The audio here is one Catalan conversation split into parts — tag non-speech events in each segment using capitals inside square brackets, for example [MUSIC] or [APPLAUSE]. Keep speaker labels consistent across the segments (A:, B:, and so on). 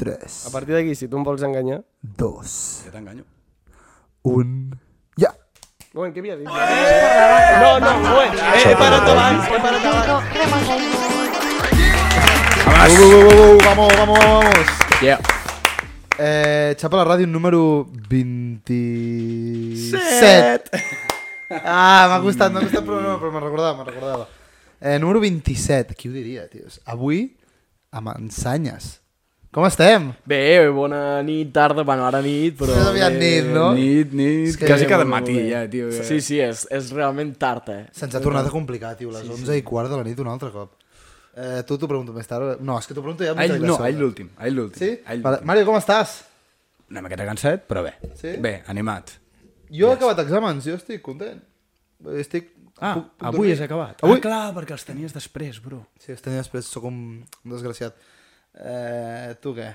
A: 3,
B: A partir d'aquí, si tu em vols enganyar...
A: 2,
C: Ja t'enganyo.
A: 1... Ja!
B: Un moment, què havia dit? No, no, un moment. He, he parat abans, he parat abans.
C: Vamos,
A: Uh, Vamos, vamos, vamos!
C: Yeah.
A: Eh, xapa la ràdio número 27. Ah, m'ha costat, m'ha costat, però, no, però me'n recordava, me'n recordava. Eh, número 27, qui ho diria, tios? Avui, amb ensanyes. Com estem?
D: Bé, eh, bona nit, tarda, bueno, ara nit, però...
A: Més aviat
D: bé.
A: nit, no?
C: Nit, nit,
A: És que
C: quasi
A: molt,
C: cada
D: molt
C: matí
D: bé.
C: ja, tio. eh.
D: Sí, sí, eh. és, és realment tard, eh?
A: Se'ns ha tornat a complicar, tio, les 11 i quart de la nit un altre cop. Eh, tu t'ho pregunto més tard. No, és que t'ho pregunto ja. m'ho
C: Ell
A: trec de
C: no,
A: sobre.
C: ell l'últim, ell l'últim.
A: Sí?
C: Ell
A: Vale.
C: l'últim.
A: Mario, com estàs?
C: Una miqueta cansat, però bé.
A: Sí?
C: Bé, animat.
A: Jo he acabat exàmens, jo estic content. Estic... puc- puc dormir.
C: Ah, acabat.
A: Avui-
C: Ah, clar, perquè els tenies després, bro.
A: Sí, els tenia després, sóc un, un desgraciat. Eh, tu [LAUGHS] què?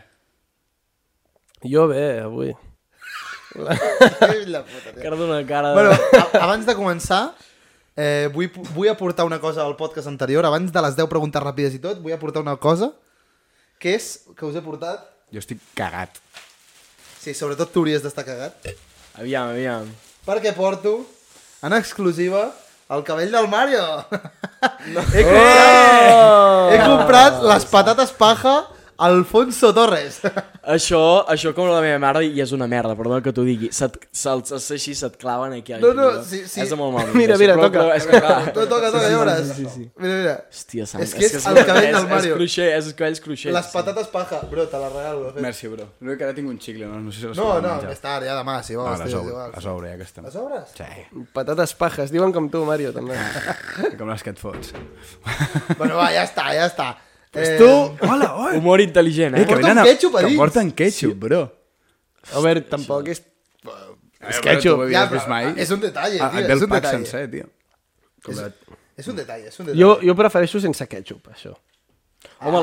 B: Jo bé, avui.
A: Fill de puta, tio.
D: Cara d'una cara...
A: bueno,
D: Bueno,
A: a, abans de començar, eh, vull, vull aportar una cosa al podcast anterior, abans de les 10 preguntes ràpides i tot, vull aportar una cosa que és, que us he portat...
C: Jo estic cagat.
A: Sí, sobretot tu hauries d'estar cagat.
D: aviam, aviam.
A: Perquè porto, en exclusiva, el cabell del Mario. No. [LAUGHS] He, comprat, he comprat les patates paja Alfonso Torres.
D: Això, això com la meva mare, i és una merda, perdona que t'ho digui. Se't, se'ls se, així, se't claven aquí.
A: No, no,
D: aquí,
A: sí, sí.
D: És de molt mal.
B: Mira,
D: això,
B: mira,
D: però-
B: toca.
D: però És que, clar,
A: No toca, toca, ja veuràs. Mira, mira.
D: hòstia, Sam,
A: És que és el
D: molt-
A: cabell del
D: és-
A: Mario.
D: És cruixer, és els cabells cruixers.
A: Les patates paja, bro, te les regalo. de fet.
C: Merci, bro. No que ara tinc un xicle, no, no sé si les
A: No,
C: poden
A: no,
C: menjar.
A: més tard, ja demà, si
C: No,
A: vols.
C: les
A: tio, si
C: obro,
A: vols.
C: les obro, ja que estem.
A: Les obres?
C: Sí,
B: Patates pajes, diuen com tu, Mario, també.
C: com les que et
A: [LAUGHS]
C: fots.
A: Bueno, va, ja està, ja està. Eh, Pues
C: Hola, oi!
D: Humor intel·ligent, eh?
A: que porten
C: venen a-
A: ketchup a
C: que
A: dins.
C: porten ketchup, bro.
B: A veure, tampoc és...
A: Eh,
C: És
B: ketchup.
C: Tu ho
A: Ja,
C: havies vist mai?
A: però és un detall,
C: Ah,
A: tio,
C: et ve
A: és
C: el
A: un
C: pack
A: detall.
C: sencer, tio. Cobrat.
A: És un detall, és un detall.
B: Jo, jo prefereixo sense ketchup, això.
D: Home,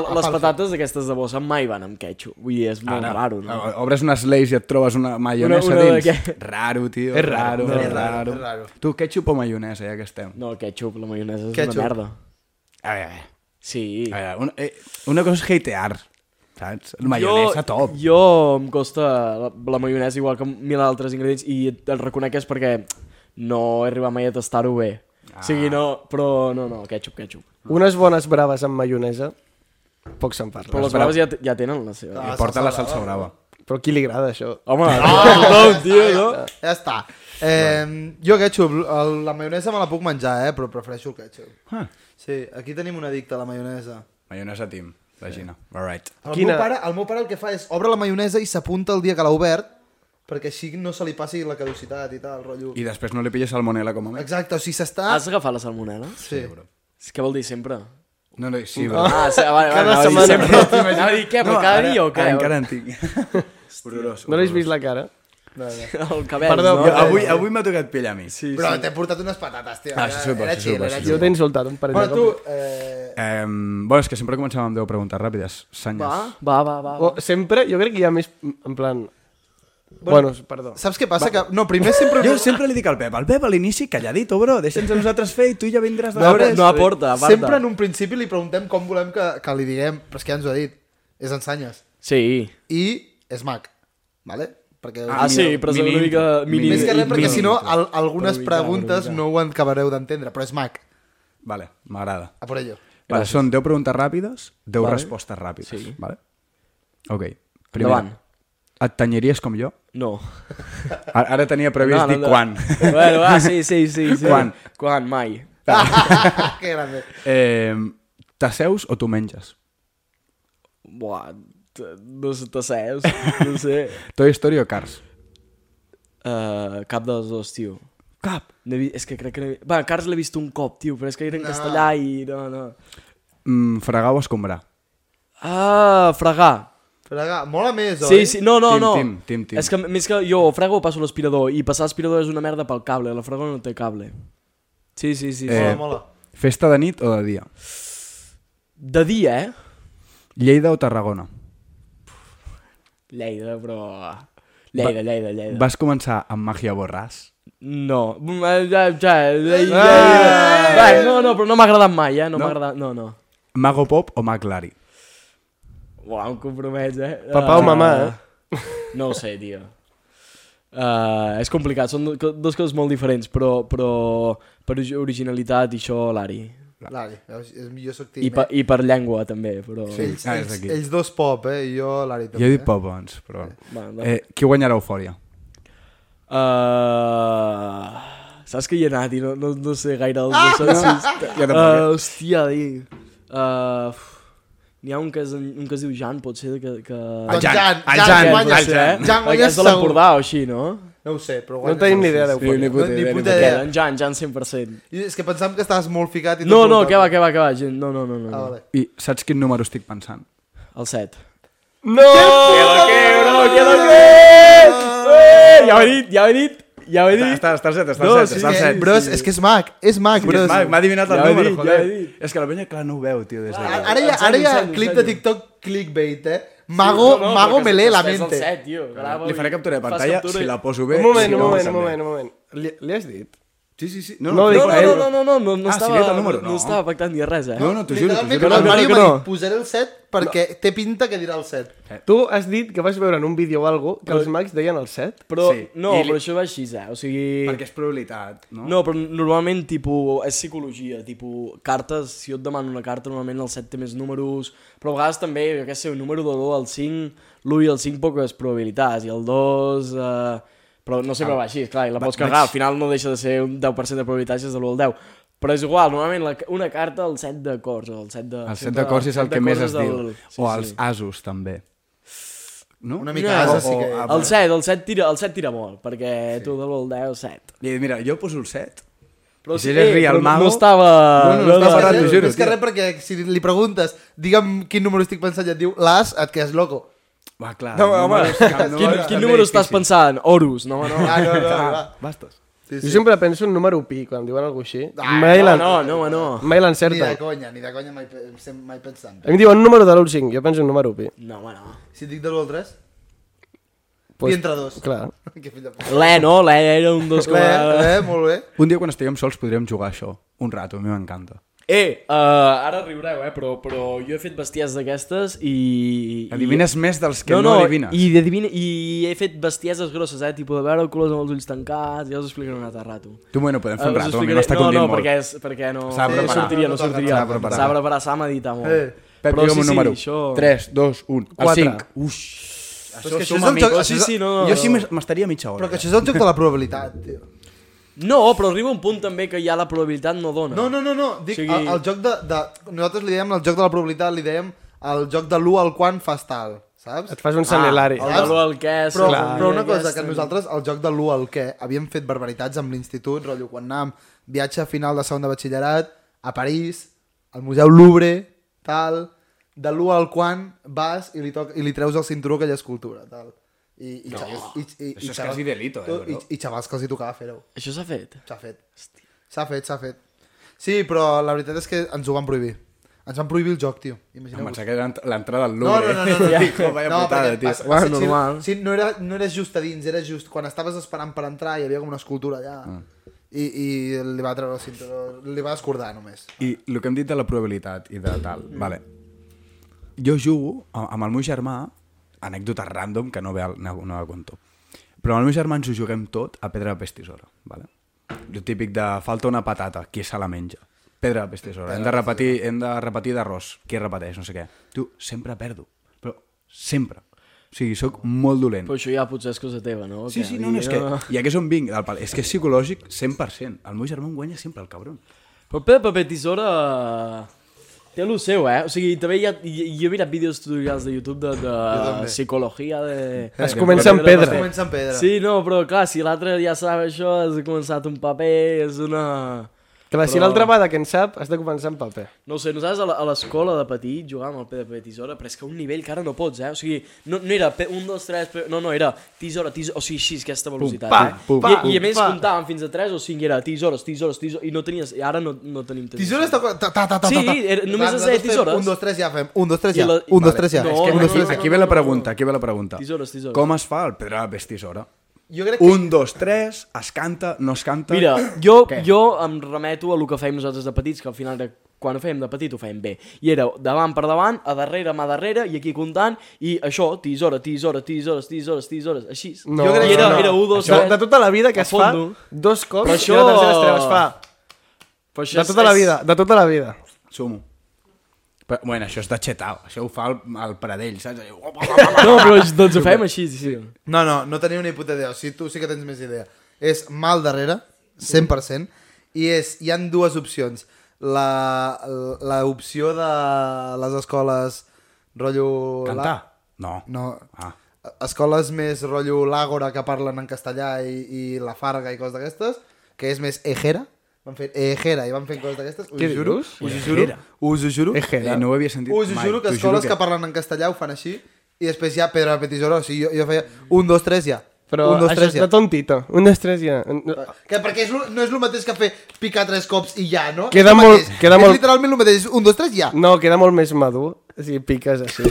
A: Ah,
D: les patates aquestes de bossa mai van amb ketchup. Vull dir, és molt raro, Ah, no?
C: O- Obres unes leis i et trobes una maionesa
D: Una- una de
C: dins.
D: què?
C: Raro, tio.
B: És raro,
C: raro,
B: no, és
A: raro, és raro.
C: Tu, ketchup o maionesa, ja que estem?
D: No, el ketchup, la maionesa és
A: Ketchup.
D: una merda.
C: A veure, a veure.
D: Sí.
C: A veure, una, eh, una cosa és hatear, saps? Maionesa, top.
D: Jo em costa la, la maionesa igual que mil altres ingredients i et, et reconec que és perquè no he arribat mai a tastar-ho bé. Ah. O sigui, no, però no, no, ketchup, ketchup.
B: Unes bones braves amb maionesa, poc se'n
D: Però
B: parla.
D: les braves ja, t- ja tenen la seva.
A: Ah.
D: Ah.
C: I porta la salsa brava.
B: Però qui li agrada, això?
D: Home,
C: Ah.
D: [LAUGHS] tothom, tio, no?
A: Ja està. Eh, jo ketchup, el, la maionesa me la puc menjar, eh, però prefereixo el ketchup.
C: Ah,
A: Sí, aquí tenim un addicte a la maionesa.
C: maionesa team, la Gina. All right.
A: El,
B: Quina?
A: meu pare, el meu pare el que fa és obre la maionesa i s'apunta el dia que l'ha obert perquè així no se li passi la caducitat i tal, rotllo.
C: I després no li pilles salmonella com a mi?
A: Exacte, o sigui, s'està...
D: Has agafat la salmonella?
A: Sí.
D: És que vol dir sempre?
C: No, no, sí, bro.
D: [LAUGHS] Ah, sí, vale, vale,
B: Cada
D: anava a dir
B: setmana.
D: Sempre. Anava a dir què, però cada
C: ara-
D: dia o què?
C: Ara encara en tinc. Horrorós.
B: No l'has vist la cara?
A: No, no.
D: El cabell,
B: Perdó,
C: Jo,
D: no?
C: avui, avui m'ha tocat pillar a mi. Sí.
A: Però t'he portat unes patates, tio.
C: Ah, sí, sí,
A: Era
C: sí, sí,
A: chill,
C: sí,
A: era
C: sí,
A: chill.
B: Jo t'he insultat un parell
A: Bueno,
B: de
A: tu...
B: cops.
A: Eh...
C: Eh, bueno, és que sempre començàvem amb 10 preguntes ràpides. Senyes.
D: Va, va, va, va.
E: Oh.
B: O, sempre, jo crec que hi ha més, en plan... Bueno, perdó.
A: Saps què passa? Que... No,
D: [LAUGHS]
A: primer sempre...
C: Jo sempre li dic al Pep, al Pep a l'inici calladito, bro, deixa'ns a nosaltres fer i tu ja vindràs
D: No,
C: després.
D: no aporta, aparta.
A: Sempre en un principi li preguntem com volem que, que li diguem, però és que ja ens ho ha dit. És ensenyes.
D: Sí.
A: I és mac. Vale? Perquè...
D: Ah, sí, però és
C: mini
D: una mica...
C: intro.
D: Mini,
A: Més que res, perquè
D: mini
A: si no,
D: intro.
A: al, algunes preguntes no ho acabareu d'entendre, però és mac.
C: Vale, m'agrada.
A: A por
D: [LAUGHS]
A: ello.
C: Vale, són 10 preguntes ràpides, 10 respostes ràpides. Sí. Vale? Ok. Primera.
D: Endavant.
C: Et tanyaries com jo?
D: No.
C: Ara, ara tenia previst no, no, dir quan.
D: [LAUGHS] Bueno, va, sí, sí, sí. sí.
C: Quan?
D: Quan, mai.
A: que grande.
C: [LAUGHS] Eh, T'asseus o tu menges?
D: Buah, t- no sé, t'asseus, no
C: [LAUGHS]
D: sé.
C: Toy Story o Cars?
D: Uh, cap dels dos, tio. Cap? No he vist, és que crec que no he vist... Va, Cars l'he vist un cop, tio, però és que era en castellà i no, no.
C: Mm, fregar o escombrar?
D: Ah, fregar.
A: Però, aga, mola més, oi?
D: Sí, sí, no, no,
C: Tim,
D: no.
C: Tim, Tim, Tim.
D: És que més que jo frego passo l'aspirador i passar l'aspirador és una merda pel cable, la fregona no té cable. Sí, sí, sí. sí.
A: Mola,
C: Eh.
A: mola.
C: Festa de nit o de dia?
D: De dia, eh?
C: Lleida o Tarragona?
D: Lleida, però... Lleida, Lleida, Lleida.
C: Vas començar amb Magia Borràs?
D: No. Mm, eh, Ja, ja, ja, ja,
C: Ah!
D: ja. Va, no, no, però no m'ha agradat mai, eh? No, m'ha agradat, no, no.
C: Mago Pop o Mac Lari?
D: Uau, em compromets, eh?
B: Papà o
D: Ah,
B: mamà, eh?
D: [LAUGHS] No ho sé, tio. Uh, és complicat, són do- dues coses molt diferents, però, però per orig- originalitat i això l'Ari.
A: L'Ari, és- jo soc
D: I, pa,
A: tímid.
D: I per llengua, també, però...
A: Sí, ells,
C: Ah, és
A: ells,
C: d'aquí.
A: ells, dos pop, eh? I jo l'Ari també.
C: Jo he dit pop abans, però...
D: Va, va.
C: Eh, qui guanyarà Eufòria?
D: Uh, saps que hi he anat i no, no, no sé gaire els ah! sensis.
C: Jo
D: Uh, hòstia, di. Uh, N'hi ha un que, es, un que es diu Jan, pot ser que... que...
C: El Jan, el
D: ah,
A: Doncs Ah, Jan,
C: Jan,
A: guanya, eh?
C: el
D: eh?
C: Jan.
A: Jan guanya
D: és de
A: segur.
D: l'Empordà o així, no?
A: No ho sé, però
B: No
A: guanya
B: tenim ni
A: segur.
B: idea
D: Sí, ni
B: d'Eufòria.
A: puta
D: puta
A: No, ni idea,
D: idea.
A: ni puta puta idea. idea.
D: En Jan, Jan 100%.
A: I És que pensàvem que estaves molt ficat i
D: No,
A: tot
D: no,
A: preguntava.
D: que va, que va, que va, gent. No, no, no, no.
A: Ah,
D: no.
A: vale.
C: I saps quin número estic pensant?
D: El 7.
B: No!
D: Eh, ja ho he dit, ja ho he dit, ja ho he dit.
C: Està, està al set, està
D: No,
C: al set,
D: sí,
C: està al
D: sí,
C: set.
A: Bros, és que és mag, és mag,
C: Bro,
A: bros.
C: M'ha adivinat el
D: Ja ho he
C: número,
D: dit, ja
C: joder.
D: ho he dit.
C: És que la penya, clar, no ho veu, tio, des de...
A: Ara, ara, hi ha, ara hi ha clip de TikTok clickbait, eh? Mago,
D: No, no,
A: mago
D: perquè
A: me lee la
D: és el
A: mente.
D: set, tio. Grava
C: Li faré
D: i
C: captura de
D: fas
C: pantalla,
D: captura
C: si
D: i-
C: la poso bé...
B: Un moment,
C: si
B: un
C: no,
B: moment,
C: també.
B: un moment, un moment. Li, li has dit?
C: Sí, sí, sí. No,
B: No,
C: dic
D: No,
C: a ell.
D: no, no, no, no, no, no,
C: Ah, sí,
D: estava,
C: que era el número,
D: no.
C: no.
D: estava pactant ni res, eh?
C: No, no, t'ho juro, t'ho
A: Literalment,
C: juro.
D: no,
A: el
D: no,
A: Mario
D: que
A: m'ha
D: no.
A: dit, posaré el set perquè té pinta que dirà el set.
B: Tu has dit que vas veure en un vídeo o algo que els mags deien el 7?
D: Però,
C: Sí.
D: no,
C: I li-
D: però això va així, eh? O sigui...
C: Perquè és probabilitat, no?
D: No, però normalment, tipus, és psicologia, tipus, cartes, si jo et demano una carta, normalment el 7 té més números, però a vegades també, jo què sé, un número de l'1 al 5, l'1 i el 5 poques probabilitats, i el 2... Eh, però no
C: Ah,
D: sempre va així, clar, i la pots carregar, al final no deixa de ser un 10% de probabilitats és de l'1 al 10. Però és igual, normalment la, una carta, el 7 de cors, o el 7 de...
C: El set
D: sempre
C: de cors és el
D: set de
C: que més
D: cors
C: es
D: és
C: diu.
D: del-
C: O els asos, també. No?
A: Una
D: No,
A: mica asa sí
C: o-
A: que...
C: ah,
D: el 7, el 7 tira, el 7 tira molt, perquè sí. tu de l'1 al 10, 7.
C: Li he dit, mira, jo poso el set.
D: Però eh,
C: I si ell es ria
D: però
C: el mago-
D: No estava...
C: No, no, no estava
A: Més
C: Ferran,
A: que
C: t'ho
A: res-
C: juro,
A: Més que
C: tio.
A: res perquè si li preguntes, digue'm quin número estic pensant i et diu l'as, et quedes loco.
C: Va, clar.
B: No, home,
D: Quin, quin número estàs pensant? Horus, no, [LAUGHS] no.
A: Ah, no, no, va.
C: Bastes.
A: Sí,
B: Jo
A: sí.
B: sempre penso en número pi, quan diuen alguna cosa així.
A: Ah,
B: mai
D: No,
B: l'en-
D: no, no, no.
B: Mai
A: Ni de
B: l'encerta.
A: conya, ni de conya mai, pe- sem- mai pensant.
E: Eh?
B: A mi em diuen un número de l'1 5, jo penso en número pi.
D: No, home, no.
A: Si et dic de l'1 al 3,
B: Pues-
A: i entre dos.
B: Clar.
A: [LAUGHS] Que fill de puta.
D: L'E, no? L'E era un dos com a...
A: Eh, eh, molt bé.
C: Un dia quan estiguem sols podríem jugar a això. Un rato, a mi m'encanta.
D: Eh, uh, ara riureu, eh, però, però jo he fet bestiars d'aquestes i...
C: Adivines més dels
D: i...
C: que no, adivines.
D: I, adivina, I he fet bestieses grosses, eh, tipus de veure colors amb els ulls tancats, ja us ho explicaré un altre rato.
C: Tu, bueno, podem fer
D: Eh,
C: un
D: us
C: rato, a mi
D: explicaré-
C: m'està
D: no,
C: condint
D: no,
C: molt.
D: perquè, és, perquè no,
C: S'ha de
D: no
C: preparar.
D: sortiria, no
A: S'ha de
D: sortiria.
C: preparar.
D: S'ha de preparar, s'ha meditat molt.
A: Eh.
C: Pep,
D: però
C: digue'm
D: sí,
C: un
D: sí,
C: número.
D: això...
C: 3, 2, 1, el
B: Quatre.
C: 5. Uix.
A: Però és que això
C: som
A: és un joc-
C: amics.
A: això
D: Sí, sí, no, no,
C: Jo sí
D: no.
C: m'es- m'estaria mitja hora. eh?
A: Però que això és el joc de la probabilitat, tio.
D: No, però arriba un punt també que ja la probabilitat no dona.
A: No, no, no, no. Dic,
D: O sigui-
A: el, el joc de, de... Nosaltres li dèiem el joc de la probabilitat, li dèiem el joc de l'1 al quan fas tal, saps?
B: Et fas un sanelari.
D: Ah. El de l'1 al què...
A: Però,
D: saps?
A: però una
D: Aquest,
A: cosa, que nosaltres el joc de l'1 al què havíem fet barbaritats amb l'institut, rotllo, quan anàvem viatge a final de segon de batxillerat, a París, al Museu Louvre, tal... De l'1 al quan vas i li, toc, i li treus el cinturó que ja és cultura, tal. I, i no, xavals, i, i, i
C: això és quasi delito, eh,
A: I,
C: bro.
A: I xavals que els hi tocava fer-ho.
D: Això s'ha fet?
A: S'ha fet. S'ha fet, s'ha fet. Sí, però la veritat és que ens ho van prohibir. Ens van prohibir el joc, tio.
C: Em
A: Imagineu-vos.
C: pensava que era ent- l'entrada al
A: No,
C: Louvre. eh?
A: no, no,
B: [LAUGHS]
C: [LAUGHS]
A: no, no.
C: Dico, vaya
A: no,
C: putada,
A: perquè
C: tio.
A: pas-
D: Va,
A: sí, sí,
D: normal.
A: Sí, no, era, no eres just a dins, era just quan estaves esperant per entrar hi havia com una escultura allà. I, I li va treure el cinturó, li va escordar només.
C: I el que hem dit de la probabilitat i de tal, vale. Jo jugo a- amb el meu germà, anècdota random que no ve al, no, no la conto, però amb el meu germà ens ho juguem tot a pedra, pes, tisora, vale? El típic de falta una patata, qui se la menja? Pedra, pes, tisora. Hem de repetir, hem de repetir d'arròs, qui repeteix, no sé què. Tu, sempre perdo, però sempre. O sigui, sóc molt dolent.
D: Però això ja potser és cosa teva, no?
C: Sí,
D: Que "Ah".
C: sí, no, no, és que... I aquí és on vinc, del pal. És que és psicològic 100%. El meu germà em guanya sempre, el cabron.
D: Però Pere Paper Tisora... Té el seu, eh? O sigui, també hi ha... hi- Jo he mirat vídeos tutorials de YouTube de, de psicologia, de...
B: Es comença amb
A: Es
B: pedra.
A: comença amb pedra.
D: Sí, no, però clar, si l'altre ja sap això, has començat un paper, és una...
B: Clar, si l'altra va de que en sap, has de començar amb paper.
D: No ho sé, nosaltres a la- a l'escola de petit jugàvem al P de tisora, però és que a un nivell que ara no pots, eh? O sigui, no, no era P, un, dos, tres, P... no, no, era tisora, tisora, o sigui, així, aquesta velocitat,
C: pa,
D: eh?
C: pum,
D: I,
C: pum,
D: I a més
A: pa.
D: comptàvem fins a tres o cinc, era tisores, tisores, tisores, i no tenies, i ara no, no tenim tisores.
A: Tisora està... Ta, ta, ta, ta, ta.
D: Sí, era- només
A: Clar,
D: es
A: nosaltres
D: deia tisores.
A: fem Un, dos, tres, ja fem. Un, dos, tres,
D: I
A: ja.
D: la-
A: Un, dos, tres, ja. És
D: Vale. No,
A: que
D: no,
A: un, dos,
D: no,
A: tres, ja.
C: Aquí ve la pregunta, aquí ve la pregunta.
D: Tisores, tisores.
C: Com es fa el pedra ves tisora?
A: Jo crec que...
C: Un, dos, tres, es canta, no es canta...
D: Mira, jo, jo em remeto a lo que fèiem nosaltres de petits, que al final era quan ho fèiem de petit ho fèiem bé. I era davant per davant, a darrere, mà darrere, i aquí comptant, i això, tis hora, tis hora, tis hores, tis hores, tis hores, així.
E: No,
D: I
E: crec que
D: era,
E: no.
D: era 1, 2,
E: Això,
D: 3...
E: de tota la vida que
D: a
E: es fa,
D: fondo.
E: dos cops i
D: Però això-
E: la tercera estrella es fa.
D: Però això
E: De
D: és-
E: tota la
D: és-
E: vida, de tota la vida.
C: Sumo. Però, bueno, això és de xetau. Això ho fa el, el Pradell, saps? Allò, op, op, op.
D: No, però doncs ho fèiem així, sí. sí.
A: No, no, no teniu ni puta idea. O sigui, tu sí que tens més idea. És mal darrere, 100%, i és, hi han dues opcions. La, la opció de les escoles rotllo...
C: Cantar?
A: La...
C: No.
A: No.
C: Ah.
A: Escoles més rotllo l'àgora que parlen en castellà i, i la farga i coses d'aquestes, que és més ejera. Van fer ejera i van fent coses d'aquestes. Us
E: Què
A: ho juro,
E: dius?
A: us ho juro, us ho juro.
C: I Eh, no ho havia sentit
A: Us ho
C: mai.
A: juro que
C: T'ho
A: escoles que...
C: que-
A: que parlen en castellà ho fan així i després ja pedra, paper, tisora. O sigui, jo, jo feia un, dos, tres, ja.
E: Però
A: un, dos,
E: això
A: tres,
E: és de tontito. Un, dos, tres, ja. Un-
A: Que perquè és, lo- no és el mateix que fer picar tres cops i ja, no?
E: Queda
A: és el
E: molt-
A: mateix.
E: queda
A: és
E: molt-
A: literalment el mateix, és un, dos, tres, ja.
E: No, queda molt més madur si piques així.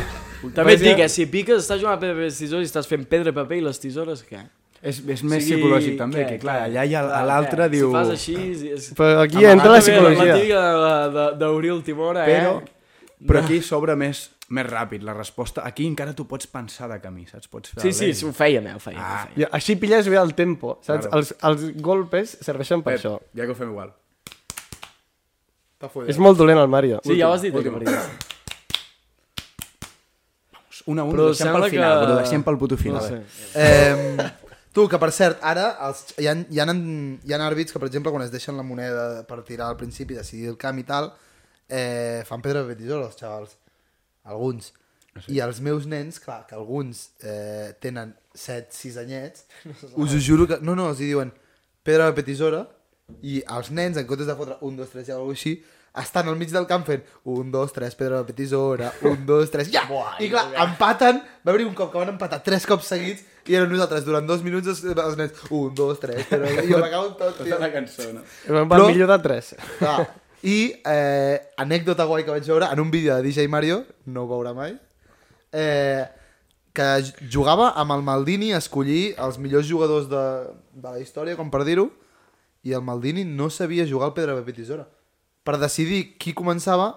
D: També et
E: Però
D: dic,
E: ja-
D: eh, si piques, estàs jugant a pedra, paper, tisores i estàs fent pedra, paper i les tisores, què?
C: És, és més
D: O sigui,
C: psicològic també,
D: què,
C: que clar,
D: què?
C: allà hi ha
D: Clar,
C: l'altre
D: què?
C: diu...
D: Si fas així... És...
E: Però aquí
C: Amagat
E: entra la
D: També La
E: psicologia.
D: típica de- de- d'obrir el timó, eh?
C: Però, però aquí s'obre més, més ràpid la resposta. Aquí encara tu pots pensar de camí, saps? Pots fer
D: Sí,
C: el
D: sí,
C: lent.
D: sí, ho fèiem, eh? Ho fèiem, ho
C: Ah,
D: fèiem.
E: I així pilles bé el tempo, saps?
C: Claro.
E: Els, els golpes serveixen per
C: Pep,
E: això.
C: ja que ho fem igual.
E: És molt dolent el Mario.
D: Sí, ja ho has dit, eh, Maria.
C: Una a una,
D: Però
C: ho deixem pel
D: sembla
C: final,
D: que-
C: però ho deixem pel puto final.
D: No sé.
A: Eh, tu, que per cert, ara els, hi, ha, hi, ha, hi ha àrbits que, per exemple, quan es deixen la moneda per tirar al principi, decidir el camp i tal, eh, fan pedra de tisora, els xavals. Alguns. I els meus nens, clar, que alguns eh, tenen 7-6 anyets, us ho juro que... No, no, els hi diuen pedra de tisora i els nens, en comptes de fotre 1, 2, 3 i alguna cosa així, estan al mig del camp fent 1, 2, 3, pedra de tisora, 1, 2, 3, ja! I clar, empaten, va haver un cop que van empatar 3 cops seguits i eren nosaltres durant 2 minuts els, els nens 1, 2, 3, pedra de jo l'acabo amb tot, tio.
C: cançó, no?
E: Em va
A: Però-
E: millor de tres.
A: Clar. I eh, anècdota guai que vaig veure en un vídeo de DJ Mario, no ho veurà mai, eh, que j- jugava amb el Maldini a escollir els millors jugadors de, de la història, com per dir-ho, i el Maldini no sabia jugar al Pedra Paper Tisora. Per decidir qui començava,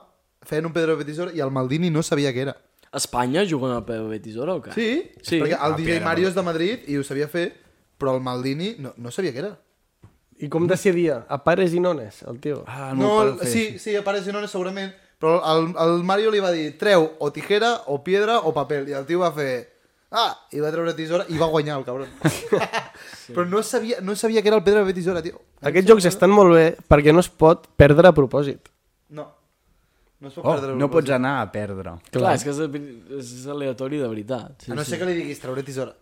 A: feien un Pedra Paper Tisora i el Maldini no sabia què era.
D: Espanya juguen al PB Tisora o què?
A: Sí,
D: Sí.
A: perquè el DJ Mario és de Madrid i ho sabia fer, però el Maldini no, no sabia què era.
E: I com decidia? A pares i nones, el tio.
C: Ah, el meu
A: No,
C: pare ho
A: el-
C: feia
A: sí, sí, apareix en hores segurament, però el, el Mario li va dir treu o tijera o piedra o paper, i el tio va fer ah, i va treure tisora i va guanyar el cabron. sí. Però no sabia, no sabia que era el pedra paper tisora, tio.
E: Aquests jocs estan molt bé perquè no es pot perdre a propòsit.
A: No. No es pot
C: Oh,
A: perdre.
C: no pots anar a perdre.
D: Clar, és que és, és aleatori de veritat. Sí,
A: A Ah, no
D: sí.
A: ser que li diguis treure tisora.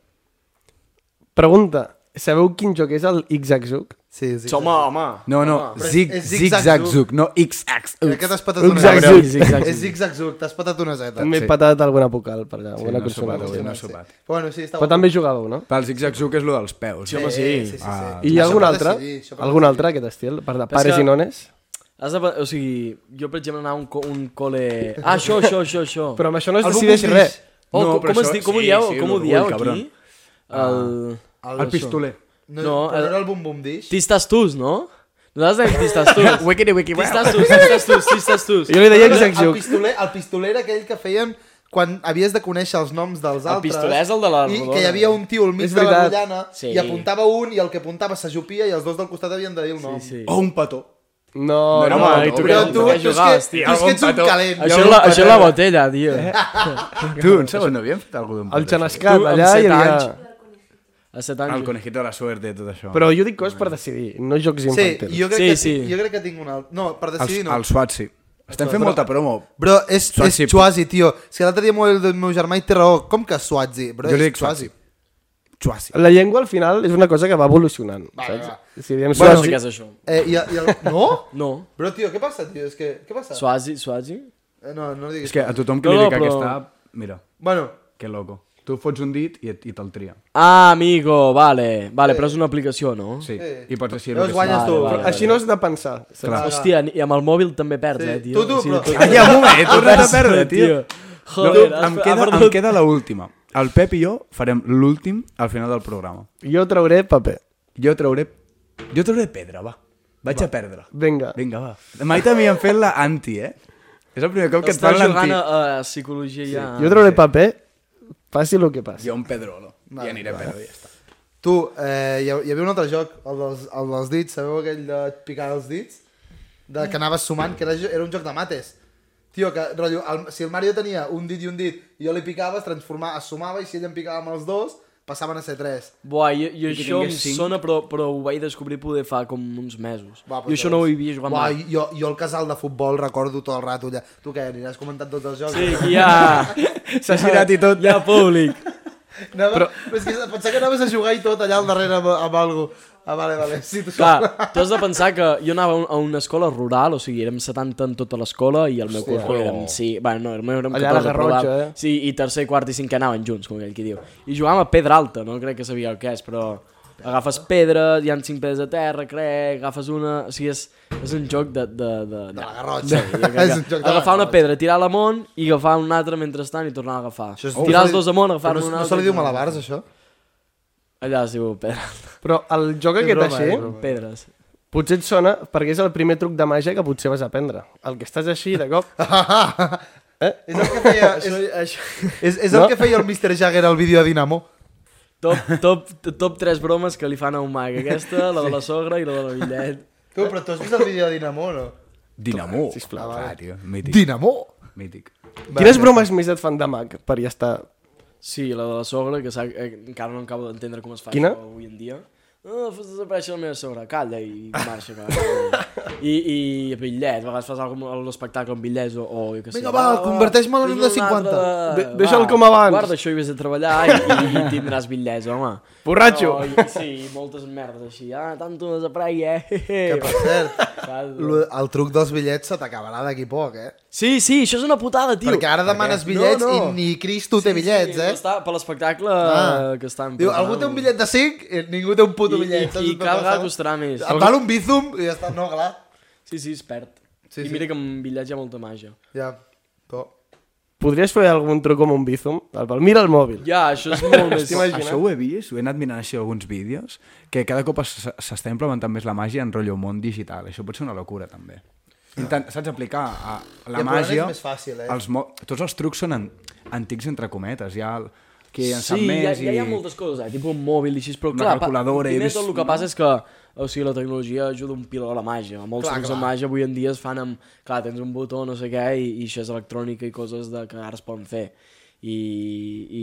E: Pregunta, sabeu quin joc és el Ixaxuc?
A: Sí, sí.
D: Home, home.
C: No, no,
A: però
C: zig,
A: és
C: zig,
A: zig-zag-zug.
C: zag, zug, no, x, x,
A: Crec que
C: x.
A: t'has patat una
E: Zig-zag-zug.
A: zeta.
D: Zig-zag-zug.
A: És zig-zag-zug, t'has patat una zeta.
E: M'he
C: Sí.
E: patat alguna vocal per allà, alguna
C: no
E: sí, consonant.
C: sopat, avui
E: sí.
C: no sopat.
A: Però bueno, sí, està
E: Però també jugàveu, no?
C: Pel zig, zag, zug és lo dels peus.
D: Sí, home, sí.
A: Eh, sí, sí, sí.
C: Ah.
E: I hi ha
A: Això
E: algun
A: per
E: altre?
A: decidir, això per
E: Algun
A: decidir.
E: altre aquest estil? Per de
D: Però és
E: pares
D: que-
E: i nones?
D: Has de, o sigui, jo per exemple anava a un, co un col·le... Ah, això, això, això, això.
E: Però amb això no es
A: El
E: decideix
A: Bumbum
E: res.
D: Oh,
C: No,
D: no,
C: però
D: com, com,
C: això-
D: es, di- com ho
C: sí,
D: dieu,
C: sí,
D: com ho
C: l'orgull,
D: dieu
C: cabron.
D: aquí? Ah. El...
A: Ah,
C: El pistoler.
A: No,
D: No,
A: però no
D: eh,
A: era el bum bum dish.
D: Tistas tus, no? Nosaltres dèiem
C: [LAUGHS]
D: tistas tus.
C: Wiki, wiki,
D: tistas tus, tistas tus, tistas tus.
E: Jo li deia
A: Però el,
E: Ixaxuc.
A: pistoler, el pistoler era aquell que feien quan havies de conèixer els noms dels altres.
D: pistoler és el de la
A: I
D: rodona.
A: que hi havia un tio al mig
E: És
A: de la
E: veritat.
A: rotllana
D: Sí.
A: i apuntava un i el que apuntava s'ajupia i els dos del costat havien de dir el nom.
D: Sí, sí.
C: O Oh, un petó.
E: No, no,
C: No, no,
E: no,
C: home,
E: i tu
C: no,
A: Però
E: què?
C: no,
A: tu, tu,
D: Amb què
A: és, que,
D: jugaves,
A: tu és
D: tio?
A: que ets un
C: Amb un
A: calent.
D: Això és la, això és la botella, tio.
C: Eh? Tu, un segon, no havíem fet alguna cosa d'un
E: El
C: petó?
E: xanascat,
D: Tu, amb
E: allà hi
D: set
E: havia...
D: anys. A 7 anys.
C: Ah, El conejito de la suerte, tot això.
E: Però jo dic coses per decidir, no jocs
A: Sí,
E: infantils.
A: jo crec,
D: Sí,
A: que,
D: sí.
A: jo crec que tinc un altre. No, per
C: Els,
A: decidir no.
C: els suats, sí. Estem fent molta promo.
A: Bro, és, és
C: Swazi.
A: Chuazi, tio. És que l'altre dia m'ho va dir el meu germà i té raó. Com que Suazi? Bro,
C: Jo li
A: és
C: dic Suazi. Suazi.
E: La llengua al final és una cosa que va evolucionant,
A: Va,
E: saps?
A: va,
E: Si diem
D: Bueno,
E: suazi-
D: sí que és això.
A: Eh, i, el- i el... No?
D: No.
A: Bro, tio, què passa, tio? És que... Què passa?
D: Suazi, suazi.
A: Eh, no, no diguis.
C: És que a tothom que
D: No,
C: li
D: no,
C: dic
D: però-
C: aquesta... app, Mira,
A: Bueno,
C: que loco. Tu fots un dit i, et- i te'l tria.
D: Ah, amigo, vale. Vale, però és una aplicació, no?
C: Sí,
A: Sí.
C: i pots decidir el
A: llavors
C: que
A: guanyes
D: Vale,
A: tu.
D: vale.
E: Així no has de pensar. saps?
C: Clar.
D: Hòstia, i amb el mòbil també perds,
A: Sí.
D: eh, tio?
A: Tu, tu, però-
C: Ah, ja, un
D: [LAUGHS]
C: moment, he tornat a perdre, tio.
D: Joder,
C: no,
D: has-
C: em,
D: ha
C: queda, em
D: perdut.
C: queda l'última. El Pep i jo farem l'últim al final del programa.
E: Jo trauré paper.
C: Jo trauré... Jo trauré pedra, va. Vaig a perdre.
E: Vinga.
C: Vinga, va. Mai també han fet la anti, eh? És el primer cop que et fan
D: Estàs
C: l'anti.
D: jugant a, a psicologia ja...
E: Jo trauré paper, passi el que passi.
C: Jo un Pedrolo. I aniré a perdre, ja està.
A: Tu, eh, hi, ha- hi havia un altre joc, el dels, el dels dits, sabeu aquell de picar els dits? De, que anaves sumant, que era, jo- era un joc de mates. Tio, que, rotllo, el, si el Mario tenia un dit i un dit, i jo li picava, es transformava, es sumava, i si ell em picava amb els dos, passaven a ser tres.
D: Buà, jo, jo
C: que
D: això em
C: tingués cinc.
D: sona, però, però ho vaig descobrir poder fa com uns mesos.
A: Va,
D: Va,
A: però
D: jo això no ho havia jugat
A: Uà,
D: mai.
A: jo, jo el casal de futbol recordo tot el rato allà. Tu què, aniràs comentant tots els jocs?
D: Sí, aquí hi ha...
C: S'ha girat i tot.
D: Hi ha públic.
A: Anava, però... però... és que pensava que anaves a jugar i tot allà al darrere amb, amb algú. Ah, vale, vale. Sí, tu
D: Clar, tu has de pensar que jo anava a un- a una escola rural, o sigui, érem 70 en tota l'escola i el meu col·le érem... Sí, bueno, no, érem, érem
E: Allà a la
D: 14, però va-
E: Garrotxa, eh?
D: Sí, i tercer, quart i cinquè anaven junts, com aquell qui diu. I jugàvem a pedra alta, no crec que sabia el que és, però... Agafes pedres, hi ha cinc pedres a terra, crec, agafes una... O sigui, és, és un joc de... De, de, de,
A: la Garrotxa.
D: Sí, jo crec que
A: És un joc de la
D: agafar una
A: Garrotxa.
D: pedra, tirar-la amunt i agafar un altre mentrestant i tornar a agafar.
A: [LAUGHS] Això és-
D: tirar
A: Oh.
D: els dos amunt, agafar-ne
A: no,
D: un
A: no
D: altre.
A: se li diu
D: i tornar-
A: malabars, això?
D: Allà es diu pedra.
E: Però el joc aquest
A: broma,
D: eh,
E: així,
A: és broma.
D: Pedres.
E: potser et sona perquè és el primer truc de màgia que potser vas aprendre. El que estàs així, de
D: [LAUGHS]
E: cop...
A: És el que feia, és, és, és el
E: No?
A: que feia el Mr. Jagger al vídeo a Dinamo.
D: Top, top, top 3 bromes que li fan a un mag. Aquesta, la de la sogra i la de la bitllet.
A: Tu, però tu has vist el vídeo de Dinamo, no?
C: Dinamo.
E: sisplau.
D: eh.
C: Clar, tio. Mític.
A: Dinamo?
C: Mític.
E: Quines bromes més et fan de mag per ja estar...
D: Sí, la de la sogra, que s'ha- eh, encara no acabo d'entendre com es fa
E: Quina?
D: això avui en dia. No, oh, fas desaparèixer la meva sogra, calla i marxa. Que... I, I bitllet, a vegades fas alguna cosa, l'espectacle amb bitllets o, o jo què sé.
A: Vinga, va, converteix-me en un de 50.
E: De- deixa'l com abans.
D: Guarda això i vés a treballar i, i, i tindràs bitllets, home.
E: Borratxo!
D: No, i, sí, i moltes merdes així. Ah, tant tu desaparegui, eh?
A: Que, per cert,
D: Saps?
A: lo- el truc dels bitllets se t'acabarà d'aquí poc, eh?
D: Sí, sí, això és una putada, tio.
A: Perquè ara demanes bitllets
D: No, no.
A: i ni Cristo té bitllets,
D: sí,
A: eh?
D: Està per l'espectacle
A: Ah.
D: ah. que estan...
A: Diu, algú té un bitllet de 5 i ningú té un puto
D: I-
A: bitllet.
D: i-
A: saps?
D: i
A: Tot
D: cada vegada
A: passat.
D: costarà més.
A: Et val un bizum i ja està, no, clar.
D: Sí, sí, es perd.
A: Sí,
D: Sí, I
A: sí.
D: mira que amb bitllets hi ha molta màgia.
A: Ja, però...
E: Podries fer algun truc com un bízum? El pal- Mira el mòbil.
D: Ja, això és
A: [LAUGHS]
D: molt més...
C: Això ho he vist, ho he anat mirant així alguns vídeos, que cada cop es- s'està implementant més la màgia en rotllo món digital. Això pot ser una locura, també. Intent, saps aplicar a la
A: I el problema
C: màgia...
A: és més fàcil, eh?
C: Els mo... Tots els trucs són an... antics, entre cometes. Hi ha el... qui en sap
D: Sí,
C: més
D: ja, ja hi ha
C: i...
D: moltes coses, eh? tipus un mòbil i així, però
C: Una
D: clar,
C: calculadora, he
D: primer
C: vist
D: tot el que
C: una.
D: passa és que o sigui, la tecnologia ajuda un piló a la màgia. Molts
A: Clar,
D: trucs de
A: clar.
D: màgia avui en dia es fan amb... Clar, tens un botó, no sé què, i, i això és electrònica i coses de, que ara es poden fer. I,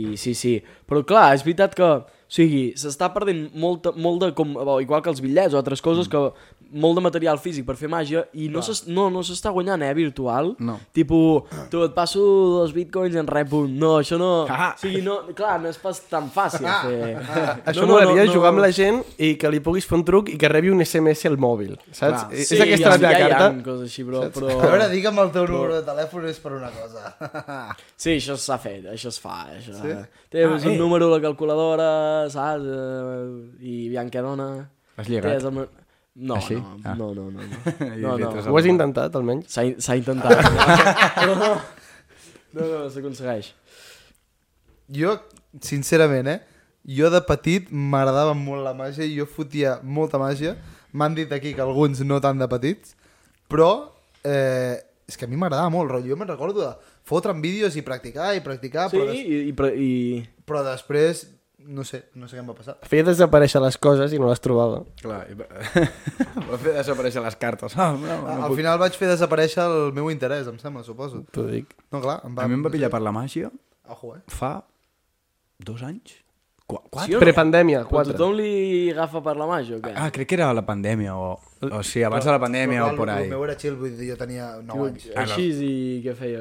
D: I sí, sí. Però clar, és veritat que... O sigui, s'està perdent molta, molt de... Com, bo, igual que els bitllets o altres
C: Mm.
D: coses, que molt de material físic per fer màgia i no s'es- no, no s'està guanyant, eh, virtual.
C: No.
D: Tipo, tu et passo dos bitcoins en rep un. No, això no...
C: Ah.
D: O sigui, no, clar, no és pas tan fàcil fer...
E: Això no, m'agradaria jugar amb la gent i que li puguis fer un truc i que rebi un SMS al mòbil, saps?
C: Clar.
E: És
D: Sí,
E: aquesta la
D: ja-
E: teva
D: ja hi ha
E: carta?
D: coses així, però,
A: A veure,
D: però...
A: digue'm el teu número de telèfon és per una cosa.
D: Sí, això s'ha fet, això es fa. Això. Sí? Tens ah,
E: eh.
D: un número a la calculadora, saps? Eh, I aviam què dona.
C: Has llegat?
D: Tens El... meu- No,
C: Així?
D: no,
C: Ah.
D: no, no,
C: [LAUGHS]
D: no,
C: I
D: no. no,
C: lletres
D: no.
E: Ho has intentat, almenys?
D: S'ha in- s'ha
E: [LAUGHS]
D: intentat. no, no, no, no s'aconsegueix.
A: Jo, sincerament, eh? Jo de petit m'agradava molt la màgia i jo fotia molta màgia. M'han dit aquí que alguns no tant de petits, però eh, és que a mi m'agradava molt, rotllo. Jo me'n recordo de fotre'm vídeos i practicar i practicar,
D: Sí,
A: Ah, però, des
D: i, i, pre- i...
A: però després no sé, no sé què em va passar.
E: Feia desaparèixer les coses i no les trobava.
C: Clar, i... va [LAUGHS] fer desaparèixer les cartes. Ah, no, no,
A: Al
C: puc...
A: final vaig fer desaparèixer el meu interès, em sembla, suposo.
E: T'ho dic.
A: No, clar, em va...
C: A mi em va pillar per la màgia
A: Ojo, eh?
C: fa dos anys? Qu quatre?
D: Sí o no?
E: Prepandèmia,
D: Però
E: 4.
D: tothom li agafa per la màgia o què?
C: Ah, crec que era la pandèmia o... O sigui, abans de la pandèmia o
A: Però,
C: por
A: clar, el-
C: ahí.
A: El meu era chill, vull dir, jo tenia 9 anys.
D: Així i què feia?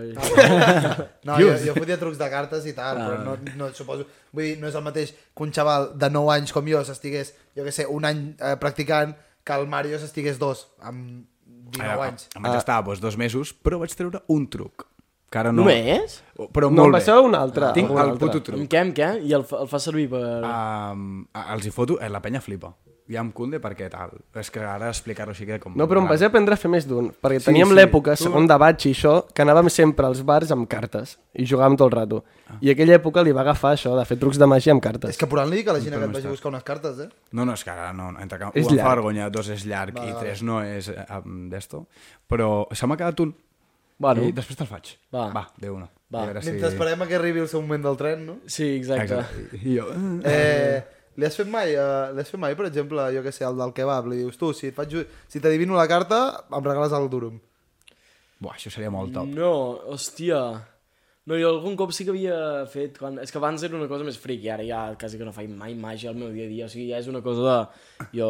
A: No, jo, jo fotia trucs de cartes i tal, però no, no suposo... Vull dir, no és el mateix que un xaval de 9 anys com jo s'estigués, jo que sé, un any eh, practicant, que el Mario s'estigués dos, amb
C: Eh,
A: 19 anys.
C: Em
E: Ah.
C: vaig estar doncs, dos mesos, però vaig treure un truc. Que ara no...
D: Només?
C: Però
E: No,
C: molt
E: em va
C: bé.
E: ser un altre,
C: Tinc
E: algun
C: el
E: altre.
C: puto
D: Amb
C: truc. Ah.
D: què, amb què? I el, fa- el fa servir per...
C: Um, els hi foto... Eh, la penya flipa. i amb Kunde perquè tal. És que ara explicar-ho així queda com...
E: No, però em
C: raro.
E: vaig aprendre a fer més d'un, perquè
C: Sí,
E: teníem
C: sí,
E: l'època,
C: tu-
E: segon de batx i això, que anàvem sempre als bars amb cartes i jugàvem tot el rato. I aquella època li va agafar això, de fer trucs de màgia amb cartes.
A: És que Puran li que la gent que et vagi a buscar unes cartes, eh?
C: No, no, és que ara no, entre que
E: És
C: un em
E: llarg.
C: fa vergonya, dos és llarg i tres no és eh, um, d'esto. Però se m'ha quedat un
D: Bueno,
C: i després te'l faig.
D: Va.
C: Va, de una.
D: Va.
C: I a veure
A: Mentre esperem a que arribi el seu moment del tren, no?
D: sí, exacte. exacte.
C: Exacte. I jo... eh,
A: Eh, li has fet mai, eh, li has fet mai, per exemple, jo que sé, el del kebab, li dius tu, si et faig, si t'adivino la carta, em regales el durum.
C: Buah, això seria molt top.
D: No, hòstia. No, jo algun cop sí que havia fet... Quan... És que abans era una cosa més fric i ara ja quasi que no faig mai màgia al meu dia a dia. O sigui, ja és una cosa de... Jo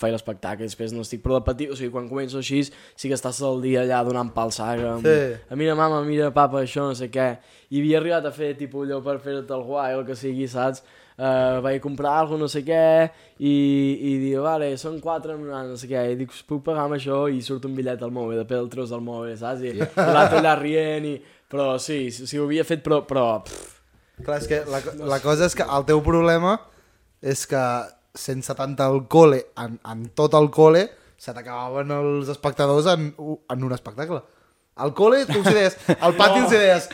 D: faig l'espectacle i després no estic... Però de petit, o sigui, quan començo així, sí que estàs tot el dia allà donant pal saga. Amb...
A: Sí.
D: A mira mama, mira papa, això, no sé què. I havia arribat a fer, tipus, allò per fer-te el guai o el que sigui, saps? Uh, vaig a comprar alguna no sé què i, i dic, vale, són 4 no sé què, i dic, us puc pagar amb això i surt un bitllet al mòbil, de pel tros al mòbil, saps? I yeah. l'altre allà rient i... Però sí, sí, sí, ho havia fet, però... però pff,
A: Clar, és que la, la cosa és que el teu problema és que sense tant alcohol, en, en tot el col·le, se t'acabaven els espectadors en, u- en un espectacle. Al col·le tu els hi deies, al pati els hi deies,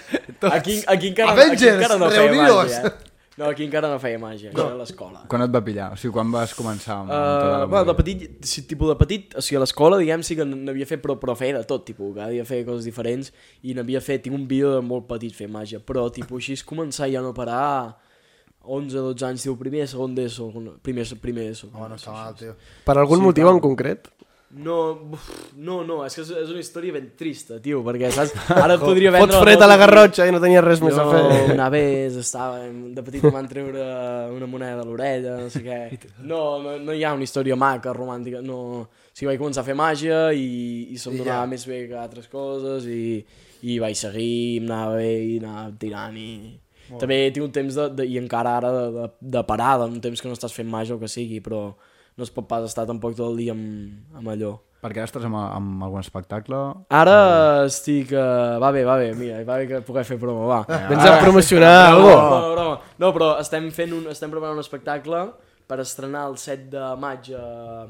D: aquí, aquí, encara, aquí
A: Avengers,
D: encara no feia
A: reunidos!
D: màgia. eh? No, aquí encara no feia màgia, no. era a l'escola.
C: Quan et va pillar? O sigui, quan vas començar amb... amb tota la
D: Uh, bueno, de
C: movida?
D: petit, si, tipus de petit, o sigui, a l'escola, diguem, sí que n- n'havia fet, però, però feia de tot, tipus, cada dia feia coses diferents, i n'havia fet, tinc un vídeo de molt petit fer màgia, però, tipus, així és començar ja no parar 11, 12 anys, tipus, primer, segon d'ESO, alguna- primer, primer d'ESO.
A: Home, no està mal, "Ah, tio.
E: Per algun
D: Sí,
E: sí, motiu
D: clar.
E: en concret?
D: No, uf, no, no, és que és, és una història ben trista, tio, perquè, saps, ara et podria vendre...
E: Fots fred a la Garrotxa i no tenies res més a
D: Jo
E: fer.
D: una vez estava, de petit em van treure una moneda a l'orella, no sé què. No, no, no hi ha una història maca, romàntica, no. O sigui, vaig començar a fer màgia i, i se'm
A: I
D: donava
A: ja.
D: més bé que altres coses i, i vaig seguir, em anava bé i anava tirant i... També tinc un temps de, de, i encara ara de, de, de parada, un temps que no estàs fent màgia o que sigui, però no es pot pas estar tampoc tot el dia amb, amb allò.
C: Perquè ara estàs amb, amb algun espectacle...
E: Ah.
D: Ara estic... eh, va bé, va bé, mira, va bé que puguem fer promo, va.
E: Vens a promocionar
D: Bravo,
E: alguna
D: bravo, bravo. No, però estem, fent un, estem preparant un espectacle per estrenar el 7 de maig a...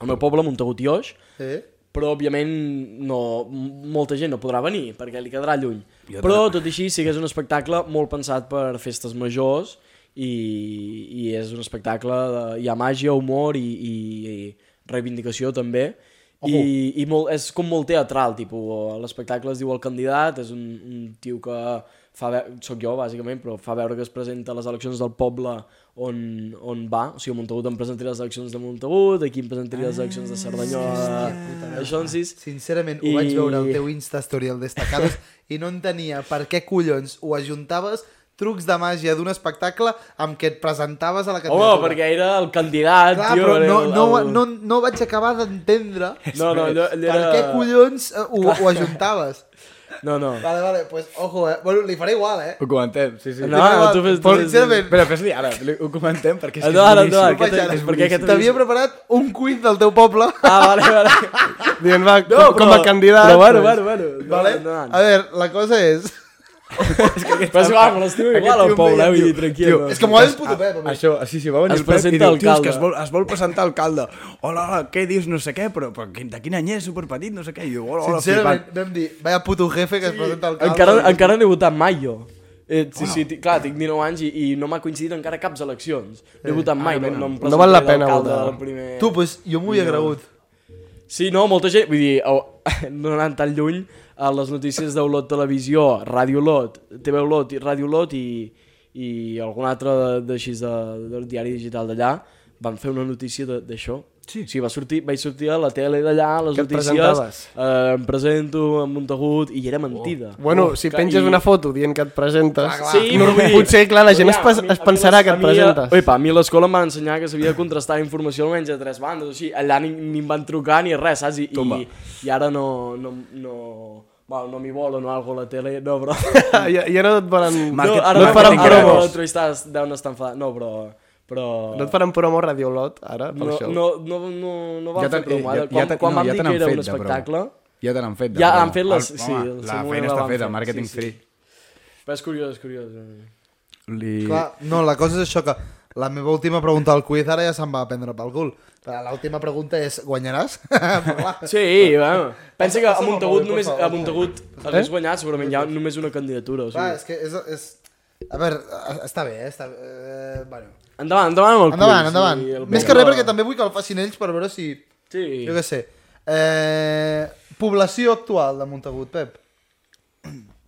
D: al meu poble, a Montegutioix,
A: Eh?
D: però òbviament no, m- molta gent no podrà venir perquè li quedarà lluny. Però tot i així sí que és un espectacle molt pensat per festes majors i, i és un espectacle de, hi ha màgia, humor i, i, i reivindicació també i, i molt, és com molt teatral tipus, l'espectacle es diu El Candidat és un, un tio que fa ve... soc jo bàsicament, però fa veure que es presenta a les eleccions del poble on, on va, o sigui a Montagut em presentaré les eleccions de Montagut aquí em presentaré les eleccions
A: Ah,
D: de Cerdanyola això en sis
A: Sincerament,
D: I-
A: ho vaig veure al teu Insta Story, al Destacados, i no entenia per què collons ho ajuntaves trucs de màgia d'un espectacle amb què et presentaves a la
D: home,
A: candidatura.
D: perquè era el candidat
A: Clar,
D: tio,
A: Ah, però
D: era
A: no,
D: el-
A: no,
D: el-
A: no, no vaig acabar d'entendre
D: [LAUGHS] no, no, allò, allò
A: per
D: era...
A: què collons eh, ho, ho ajuntaves.
D: no, no
A: [LAUGHS] Vale, vale, pues ojo, eh? Bueno, li faré igual, eh?
C: Ho comentem, sí, sí.
D: No, no, tu fes... tu
A: Però,
D: fes-
A: sincerament,
C: Però fes-li ara, li- ho comentem perquè és que
D: Endavant,
C: és boníssim.
D: endavant.
A: vaig
D: què
A: ara.
D: t'he- per què- què t'he
A: T'havia
D: vist?
A: preparat un quiz del teu
D: [LAUGHS]
A: poble. [LAUGHS]
D: Ah, vale, vale.
E: cosa? Dient, va, com, com a
D: però-
E: candidat...
D: Però bueno,
E: doncs,
D: bueno, bueno.
A: Vale?
D: endavant.
A: A veure, la cosa és...
D: Però és igual, me l'estiu igual al
C: tio em
D: poble,
C: deia,
D: eh? Vull dir,
C: tio,
D: tranquil.
C: tio,
D: no.
A: És que m'ho ha dit puto Pep, a mi.
C: Ah, Això, sí, sí, va venir
D: Es
C: el Pep i
D: presenta
C: diu, "Tio, és
D: alcalde."
C: que es vol, es vol presentar alcalde. Hola, hola, què dius, no sé què, però, però quin- de quin any és, superpetit, no sé què. I diu, hola, hola,
A: Sincerament,
C: flipant.
A: vam dir, vaya puto jefe que es presenta al
D: Encara, encara no he votat mai, jo. Eh, sí, sí, ti- clar, tinc 19 anys i, i no m'ha coincidit encara caps eleccions. No he votat mai, Ah, no, no, em
E: No Eh. val la
D: presentaré
E: pena
D: d'alcalde
E: votar.
D: del Primer...
A: Tu, pues, jo m'ho havia cregut.
D: Sí, no, molta gent, vull dir, [LAUGHS] oh, no anant tan lluny, a les notícies d'Olot Televisió, Ràdio Olot, TV Olot i Ràdio Olot i, i algun altre de- d'així de, de, del diari digital d'allà, van fer una notícia de- d'això. Sí. sí va sortir, vaig sortir a la tele d'allà, a les
E: Què et
D: notícies,
E: presentaves?
D: eh, em presento a Montagut, i era mentida. Oh,
E: Bueno, si
D: que-
E: penges
D: i-
E: una foto dient que et presentes,
A: Clar, clar.
D: Sí,
E: no,
D: però vull dir-
E: potser, clar, la gent es,
D: Però
E: pas,
D: a mi- a
E: es
D: mi
E: pensarà
D: les-
E: que
D: a
E: et
D: mi-
E: presentes.
D: Oipa, a mi a l'escola em van ensenyar que s'havia de contrastar informació almenys de tres bandes, o sigui, allà ni, ni em van trucar ni res, saps? I, i, i ara no... no, no bueno, no m'hi volen o algo a la tele, no, però...
E: [LAUGHS] ja, ja no et volen...
C: Market-
E: no, no et faran
C: marketing
E: promos.
D: No, entrevistes deuen estar enfadats, no, però... però...
E: No et faran promo a Radio Lot, ara, pel
D: no,
E: show?
D: no, no, no, no van
C: Ja
D: ja fer
C: t'han-
D: promo,
C: ja-
D: ara.
C: ja
D: Quan,
C: t'han-
D: quan
C: no,
D: van
C: ja
D: dir
C: t'han
D: que era
C: fet
D: un
C: de promo.
D: espectacle...
C: Ja te n'han fet. de
D: Ja
C: promo.
D: han fet les-
C: El-
D: sí,
C: home,
D: el
C: la
D: Samuel
C: feina
D: la
C: està
D: van
C: feta,
D: fer,
C: marketing
D: sí, sí.
C: free.
D: Però és curiós, és curiós.
C: Li...
A: Clar, no, la cosa és això que La meva última pregunta del quiz ara ja se'm va prendre pel cul. Però L'última pregunta és, guanyaràs? [LAUGHS] Però clar,
D: Sí, bueno. Pensa que a Montagut
A: mòbil,
D: només...
A: por favor.
D: A Montagut
A: Eh?
D: hagués guanyat segurament ja només una candidatura. O
A: clar,
D: sigui.
A: és que és... és... A veure, eh, està bé, eh? Està bé. Eh, bueno.
D: Endavant, endavant amb el
A: Endavant,
D: quiz,
A: endavant.
D: i el
A: Més que res
D: programa.
A: perquè també vull que el facin ells per veure si...
D: Sí.
A: Jo què sé. Eh, població actual de Montagut, Pep.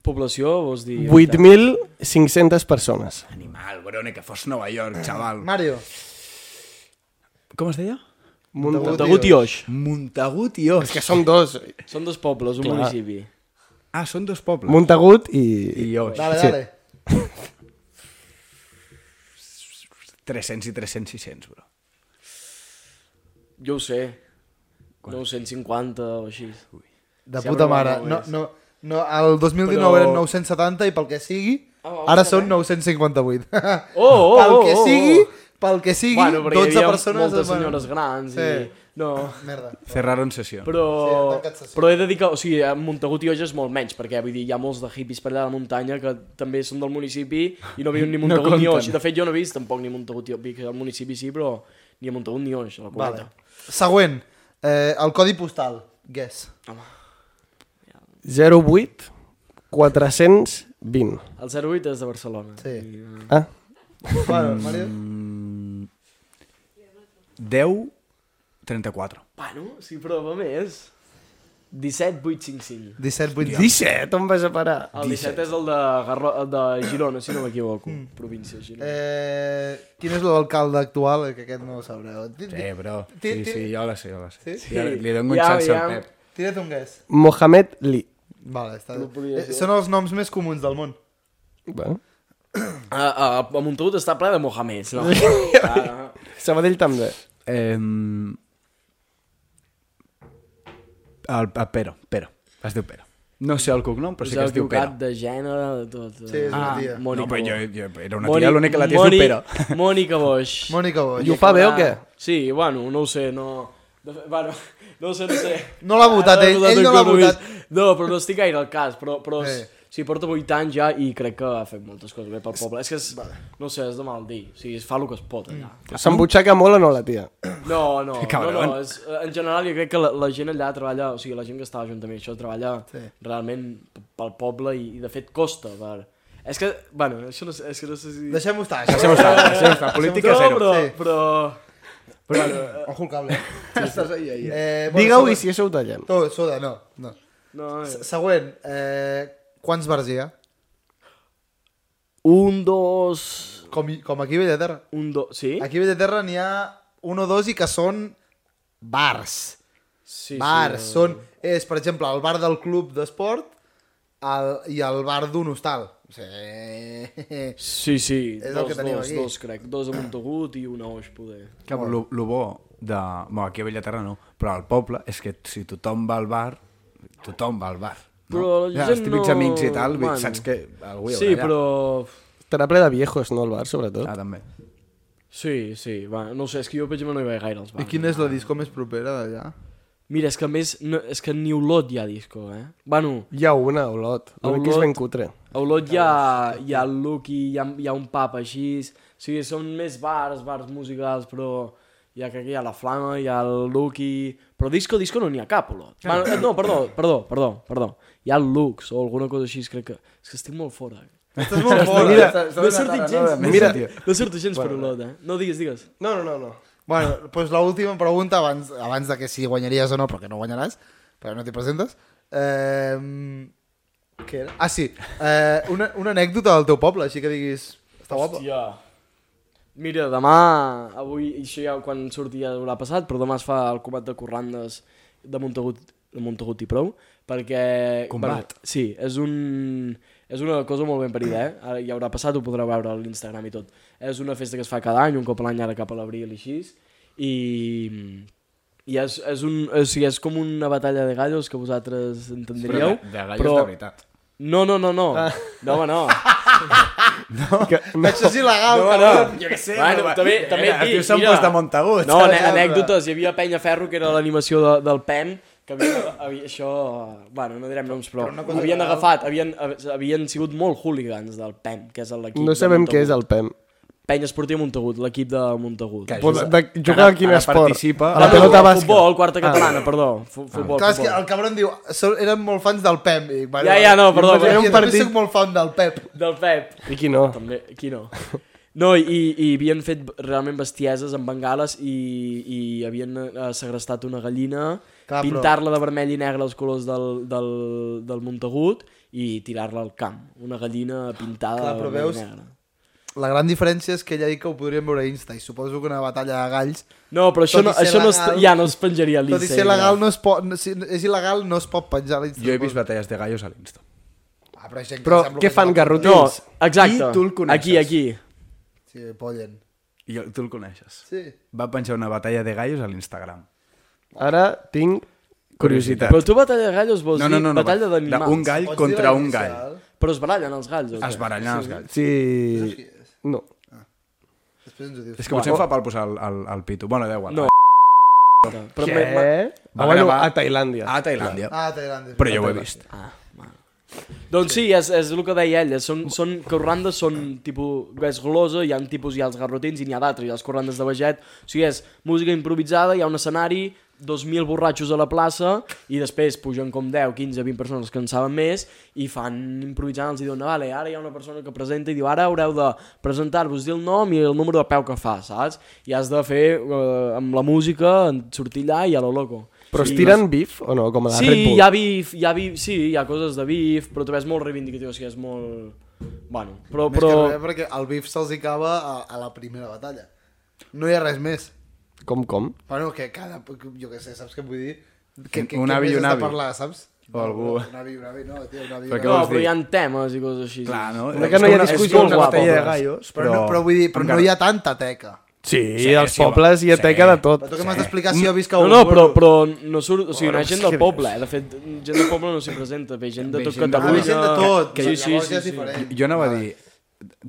D: Població, vols dir...
E: 8.500 persones.
C: Animal, brone, que fos Nova York, xaval.
A: Mario.
C: Com es deia?
A: Montagut,
D: Montagut i Oix.
C: Montagut i Oix.
E: Que som dos.
D: Són dos pobles, un municipi.
C: Ah, són dos pobles.
E: Montagut i...
C: I Oix.
A: Dale,
E: Sí.
A: dale.
C: 300 i 300, 600, bro.
D: Jo ho sé. 950 o així.
A: De
D: Sí,
A: puta
D: però
A: mare.
D: no
A: No,
D: és.
A: no, no, el 2019
D: Però-
A: eren 970 i pel que sigui,
D: Ah, va,
A: ara són 958. [LAUGHS]
D: Oh, oh,
A: pel que
D: oh, oh.
A: sigui, pel que sigui,
D: Bueno, perquè
A: 12
D: hi havia
A: persones... doncs,
D: moltes
A: bueno,
D: senyores grans
A: Sí.
D: i... No,
A: Merda.
C: Cerraron sessió. Però...
D: però,
A: Sí, ha tancat sessió.
D: però he de dir que, o sigui, a Montagut i Oix és molt menys, perquè vull dir, hi ha molts de hippies per allà a la muntanya que també són del municipi i no viuen ni Montagut ni Oix. I de fet jo no he vist tampoc ni Montagut ni Oix, al municipi sí, però ni a Montagut ni Oix, a la
A: Vale.
D: cometa.
A: Següent. Eh, el codi postal. Guess.
E: 08 420.
D: El 08 és de Barcelona.
A: Sí.
E: Ah,
A: Bueno, Mario...
D: Mm.
C: Mm, 10, 34.
D: Bueno, si prova més... 17855.
A: 17, 8,
E: 17, on vas a parar?
D: El 17 és el de, Garro... el de Girona, si no m'equivoco. Província de Girona.
A: Mm. Eh, quin és l'alcalde actual? Eh, Que aquest no ho sabreu. Ti-
C: Sí, bro.
A: Ti-
C: Sí,
A: ti-
C: sí, jo la sé, jo la sé.
A: Sí?
C: Sí, Li, li dono un
D: Ja,
C: xance
D: ja.
C: al Pep.
A: Tira't un guess.
E: Mohamed Li.
A: Vale, està...
D: No podia
A: eh,
D: ser.
A: són els noms més comuns del món.
E: Bueno.
D: A, a, a Montagut està ple de Mohameds, no? Ah,
E: Sabadell també.
C: Eh, el, el Pero, Pero. Es diu Pero. No sé el cognom, però
D: Us
C: sí que
D: heu
C: es diu Pero.
D: equivocat de gènere, de tot. Ah,
A: Sí, és una tia.
D: Mònica
C: no, però jo, jo
D: Boix.
C: era una tia, l'única que la tia es
D: Moni-
C: diu Pero.
D: [LAUGHS] Mònica Boix.
A: Mònica Boix.
E: I ho fa bé o què?
D: Sí, bueno, no ho sé, no... De fe- Bueno, [LAUGHS] no ho sé, no ho sé.
A: No l'ha votat
D: Ara
A: ell,
D: l'ha
A: ell no l'ha votat.
D: No, però no estic gaire al cas, però, però
A: Eh.
D: eh. sí, porta 8 anys ja i crec que ha fet moltes coses bé pel poble. És que és, vale. no ho sé, és de mal dir. O sigui, es fa el que es pot allà.
E: S'embutxaca molt o no la tia?
C: [LAUGHS]
D: No, no, no,
C: Cabrón.
D: no, és, en general jo crec que la, la gent allà treballa, o sigui, la gent que està a l'Ajuntament, i això treballa sí. realment p- pel poble i, i de fet costa, per... És que, bueno, això no, sé- és que no sé si...
A: Deixem-ho estar. Això.
C: Deixem estar, deixem estar. Política
D: no,
C: zero.
D: però,
A: sí.
D: però...
A: [LAUGHS] Ojo el cable. Estàs ahí, ahí. Eh, bueno,
E: Digue-ho
A: següent.
E: i si això ho tallem.
A: Tot, soda, no. no.
D: No,
A: Se- Següent. Eh, quants bars hi ha?
D: un, dos...
A: Com, i- com aquí a Bellaterra.
D: Un, dos... Sí?
A: Aquí a Bellaterra n'hi ha un o dos i que són bars.
D: sí
A: bars. són, és, per exemple, el bar del club d'esport el- i el bar d'un hostal.
D: [LAUGHS]
A: Sí.
D: Sí, sí,
A: És el
D: dos,
A: que teniu
D: dos,
A: aquí.
D: dos, crec. Dos a Montagut i un a Oix, poder.
C: Que lo, lo bo de... Bueno, aquí a Bellaterra no, però al poble és que si tothom va al bar, tothom va al bar. No?
D: Però la
C: ja, els
D: gent
C: típics
D: no-
C: amics i tal,
D: bueno.
C: bueno. saps que algú hi haurà
D: Sí,
C: allà.
D: però...
E: Estarà ple de viejos, no, el bar, sobretot?
C: Ah, també.
D: Sí, sí, va, no ho sé, és que jo, per exemple, no hi vaig gaire als bars.
A: és la disco més propera d'allà?
D: Mira, és que a més, no, és que ni Olot hi ha disco, eh? Bueno,
E: Hi ha una, a Olot. L'únic que és
D: Olot.
E: ben cutre.
D: a Olot hi ha, hi ha el Lucky, hi ha, hi ha un pub així, o sigui, són més bars, bars musicals, però hi ha, crec que hi ha la Flama, hi ha el Lucky, però disco, disco no n'hi ha cap, a Olot. Bueno, eh, no, perdó, perdó, perdó, perdó, hi ha el Lux o alguna cosa així, crec que... És que estic molt fora.
A: Estàs molt fort.
E: Mira,
D: No he sortit gens,
E: Mira,
D: no he sortit gens per Olot, eh? No, digues, digues.
E: no, no, no, no.
A: Bueno, doncs l'última pregunta, abans, abans de que si guanyaries o no, però que no guanyaràs, però no t'hi presentes. Eh, què era? Ah, sí. Eh, una, una anècdota del teu poble, així que diguis... Està guapa.
D: Hòstia. Mira, demà, avui, això ja quan surti ja haurà passat, però demà es fa el combat de Corrandes de Montagut, de Montagut i prou, perquè...
C: Combat.
D: Bueno, sí, és un... És una cosa molt ben parida, eh? Ara ja haurà passat, ho podreu veure a l'Instagram i tot. És una festa que es fa cada any, un cop a l'any, ara cap a l'abril i així. I, i és, és, un, o sigui, és com una batalla de gallos que vosaltres entendríeu.
C: de, de gallos
D: però-
C: de veritat. Ah.
D: No, no, no, no. No, home,
C: [LAUGHS]
D: no.
E: Que, no.
A: Això és il·legal.
D: No,
A: cabrón.
D: no. Jo què sé. Bueno, també, també et
C: el
D: dic,
C: tio s'han
D: mira.
C: posat de Montagut,
D: No,
C: saps?
D: ane- anècdotes. Hi havia Penya Ferro, que era l'animació de, del PEM, que havia, havia, això... Bueno, no direm noms, però, però havien agafat, havien, havien sigut molt hooligans del PEM, que és l'equip
E: no
D: de
E: sabem
D: Montagut.
E: què és el PEM.
D: Penya Esportiva Montagut, l'equip de Montagut.
C: Que
E: Pot-
C: ajuda.
E: de
C: Que
E: jugar a
C: ara-
E: quin
C: ara
E: esport?
C: Participa
E: A la
D: Ah,
E: pelota
D: no,
E: basca.
D: Futbol, quarta catalana, perdó. Fu- Futbol,
A: Clar, és Ah. que
D: futbol.
A: el cabron diu, "Són- érem molt fans del Pep. I, bueno,
D: Ja, ja, no, perdó,
A: jo
D: era un
A: també
E: partit-
A: Soc molt fan del Pep.
D: Del Pep.
E: I qui no?
D: També, qui no? No, i, i, i havien fet realment bestieses amb bengales i, i havien eh, segrestat una gallina,
A: Clar, però-
D: pintar-la de vermell i negre els colors del, del, del Montagut i tirar-la al camp. Una gallina pintada
A: Clar,
D: de
A: però
D: vermell
A: veus-
D: i negre.
A: La gran diferència és que ell ha dit que ho podríem veure a Insta i suposo que una batalla de galls,
D: No, però
A: Tot
D: això,
A: i
D: no,
A: ser
D: això no es,
A: legal-
D: ja no es penjaria a
A: tot i
D: l'Insta.
A: ser legal, no es pot, no, si és il·legal, no es pot penjar a l'Insta.
C: Jo he vist batalles de gallos a l'Insta.
A: Ah, però, gent que
E: Però
A: sembla
E: què
A: que
E: fan,
A: ja-
D: No,
E: garrotins?
D: exacte.
C: I tu el coneixes.
D: Aquí, aquí.
A: Sí, pollen.
C: I el- tu el coneixes.
A: Sí.
C: Va penjar una batalla de gallos a l'Instagram.
E: Ara tinc curiositat.
D: Però tu batalla de gallos vols
C: No, no, no.
D: dir
C: no
D: batalla
C: va-
D: d'animals.
C: Un gall
A: Pots dir
C: contra
A: la
C: un
A: inicial?
C: gall.
D: Però es barallen els galls. o què?
C: Es barallen els galls.
E: Sí... No.
A: Després ens ho dius.
C: És que potser em fa pal posar el, el, el pito. Bueno, da igual.
D: No. Però me- me-
E: Què?
C: Va
E: Ah, bueno,
C: gravar-
E: a Tailàndia.
C: A Tailàndia.
A: Ah, Tailàndia.
C: Però jo ho he vist.
D: Doncs sí, és, és el que deia ella. Són, són, que corrandes són tipus... És golosa, hi ha un tipus, hi ha els garrotins i n'hi ha d'altres, hi ha els corrandes de veget. O sigui, és música improvisada, hi ha un escenari, 2.000 borratxos a la plaça i després pugen com 10, 15, 20 persones que en saben més i fan improvisant, els hi diuen, "Ah, vale, ara hi ha una persona que presenta i diu, ara haureu de presentar-vos, dir el nom i el número de peu que fa, saps? I has de fer, eh, amb la música, en- sortir allà i a lo loco.
E: Però es
D: I-
E: tiren bif o no? Com a la Red
D: Sí,
E: Bull.
D: hi ha bif, hi ha bif, sí, hi ha coses de bif, però també és molt reivindicatiu, o sigui, és molt... Bueno, però...
A: Més però...
D: però...
A: que res perquè el bif se'ls hi cava a, a la primera batalla. No hi ha res més.
E: Com, com?
A: Bueno, que cada... Jo què sé, saps què vull dir? Que, que,
C: Un
A: que
C: avi i
A: més
C: un
A: has de
C: avi.
A: Parlar, saps?
C: O algú.
A: Un avi, i un avi, no, tio, un avi, i un
C: Però què
A: avi.
D: No,
C: vols
D: però
C: dir?
D: hi ha temes i coses així.
C: Clar, no?
E: Però que no hi ha
C: És com una-
E: discussió,
C: és com
D: guapo,
C: una batalla de
D: però-
C: gallos,
A: Però, no, però vull dir, però no hi ha tanta teca.
E: Sí,
C: Sí,
E: els
C: sí,
E: pobles
C: home,
E: hi ateca
C: sí.
E: de tot. Mm.
A: Però tu què m'has d'explicar si jo visc a
D: No,
A: un...
D: no, però, però no surt... O sigui, no hi
E: Bueno,
D: ha gent
E: és
D: del
E: que
D: poble, eh? De fet, gent del poble no s'hi presenta, ve gent de
C: Ve
D: tot
C: gent de-
A: Ah,
D: Catalunya...
A: gent de tot.
D: Que, sí, sí,
A: llavors ja
D: sí,
A: és
D: sí.
A: diferent.
C: Jo anava a dir,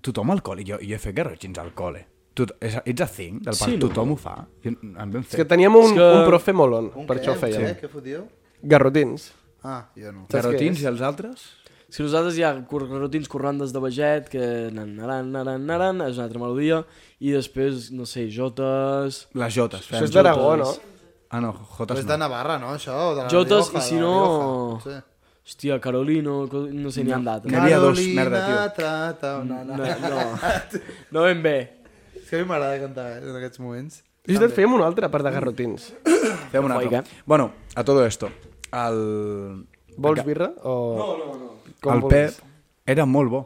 C: tothom al col·le, jo, jo he fet garrotxins al col·le. Tu, és, ets a cinc del parc,
D: Sí,
C: sí,
D: no?
C: tothom ho fa. Jo, em vam
E: És que
C: fer.
E: teníem un,
D: És que-
E: un profe molon,
A: Un
E: per
A: què?
E: això ho
A: Un
E: fèiem.
A: Què? Què fotíeu?
E: Garrotins.
A: Ah, jo no.
E: què
C: Garrotins
E: és?
C: i els altres?
D: Si nosaltres hi ha garrotins corrandes de veget, que nan, naran, naran, naran, és una altra melodia, i després, no sé, jotes...
C: Les jotes.
E: Això
C: feien
E: és d'Aragó, no?
C: Ah, no,
A: Però
C: jotes
A: és de
C: no.
A: Navarra, no, això? O de la
D: Jotes,
A: Rioja,
D: i si
A: de la
D: no-
A: Rioja, potser.
D: Hòstia, Carolino, co- no sé, n'hi ha d'altres.
C: N'hi havia dos, merda, tio.
A: Carolina, trata... No, no, no.
D: No ben bé.
C: Mm.
A: És que a mi m'agrada cantar, eh, en aquests moments.
E: I si fèiem una altra, a part de garrotins.
C: Fem una altra.
D: Foica.
C: Bueno, a todo esto. El,
E: Vols birra o... No, no, no.
C: el Pep era molt bo.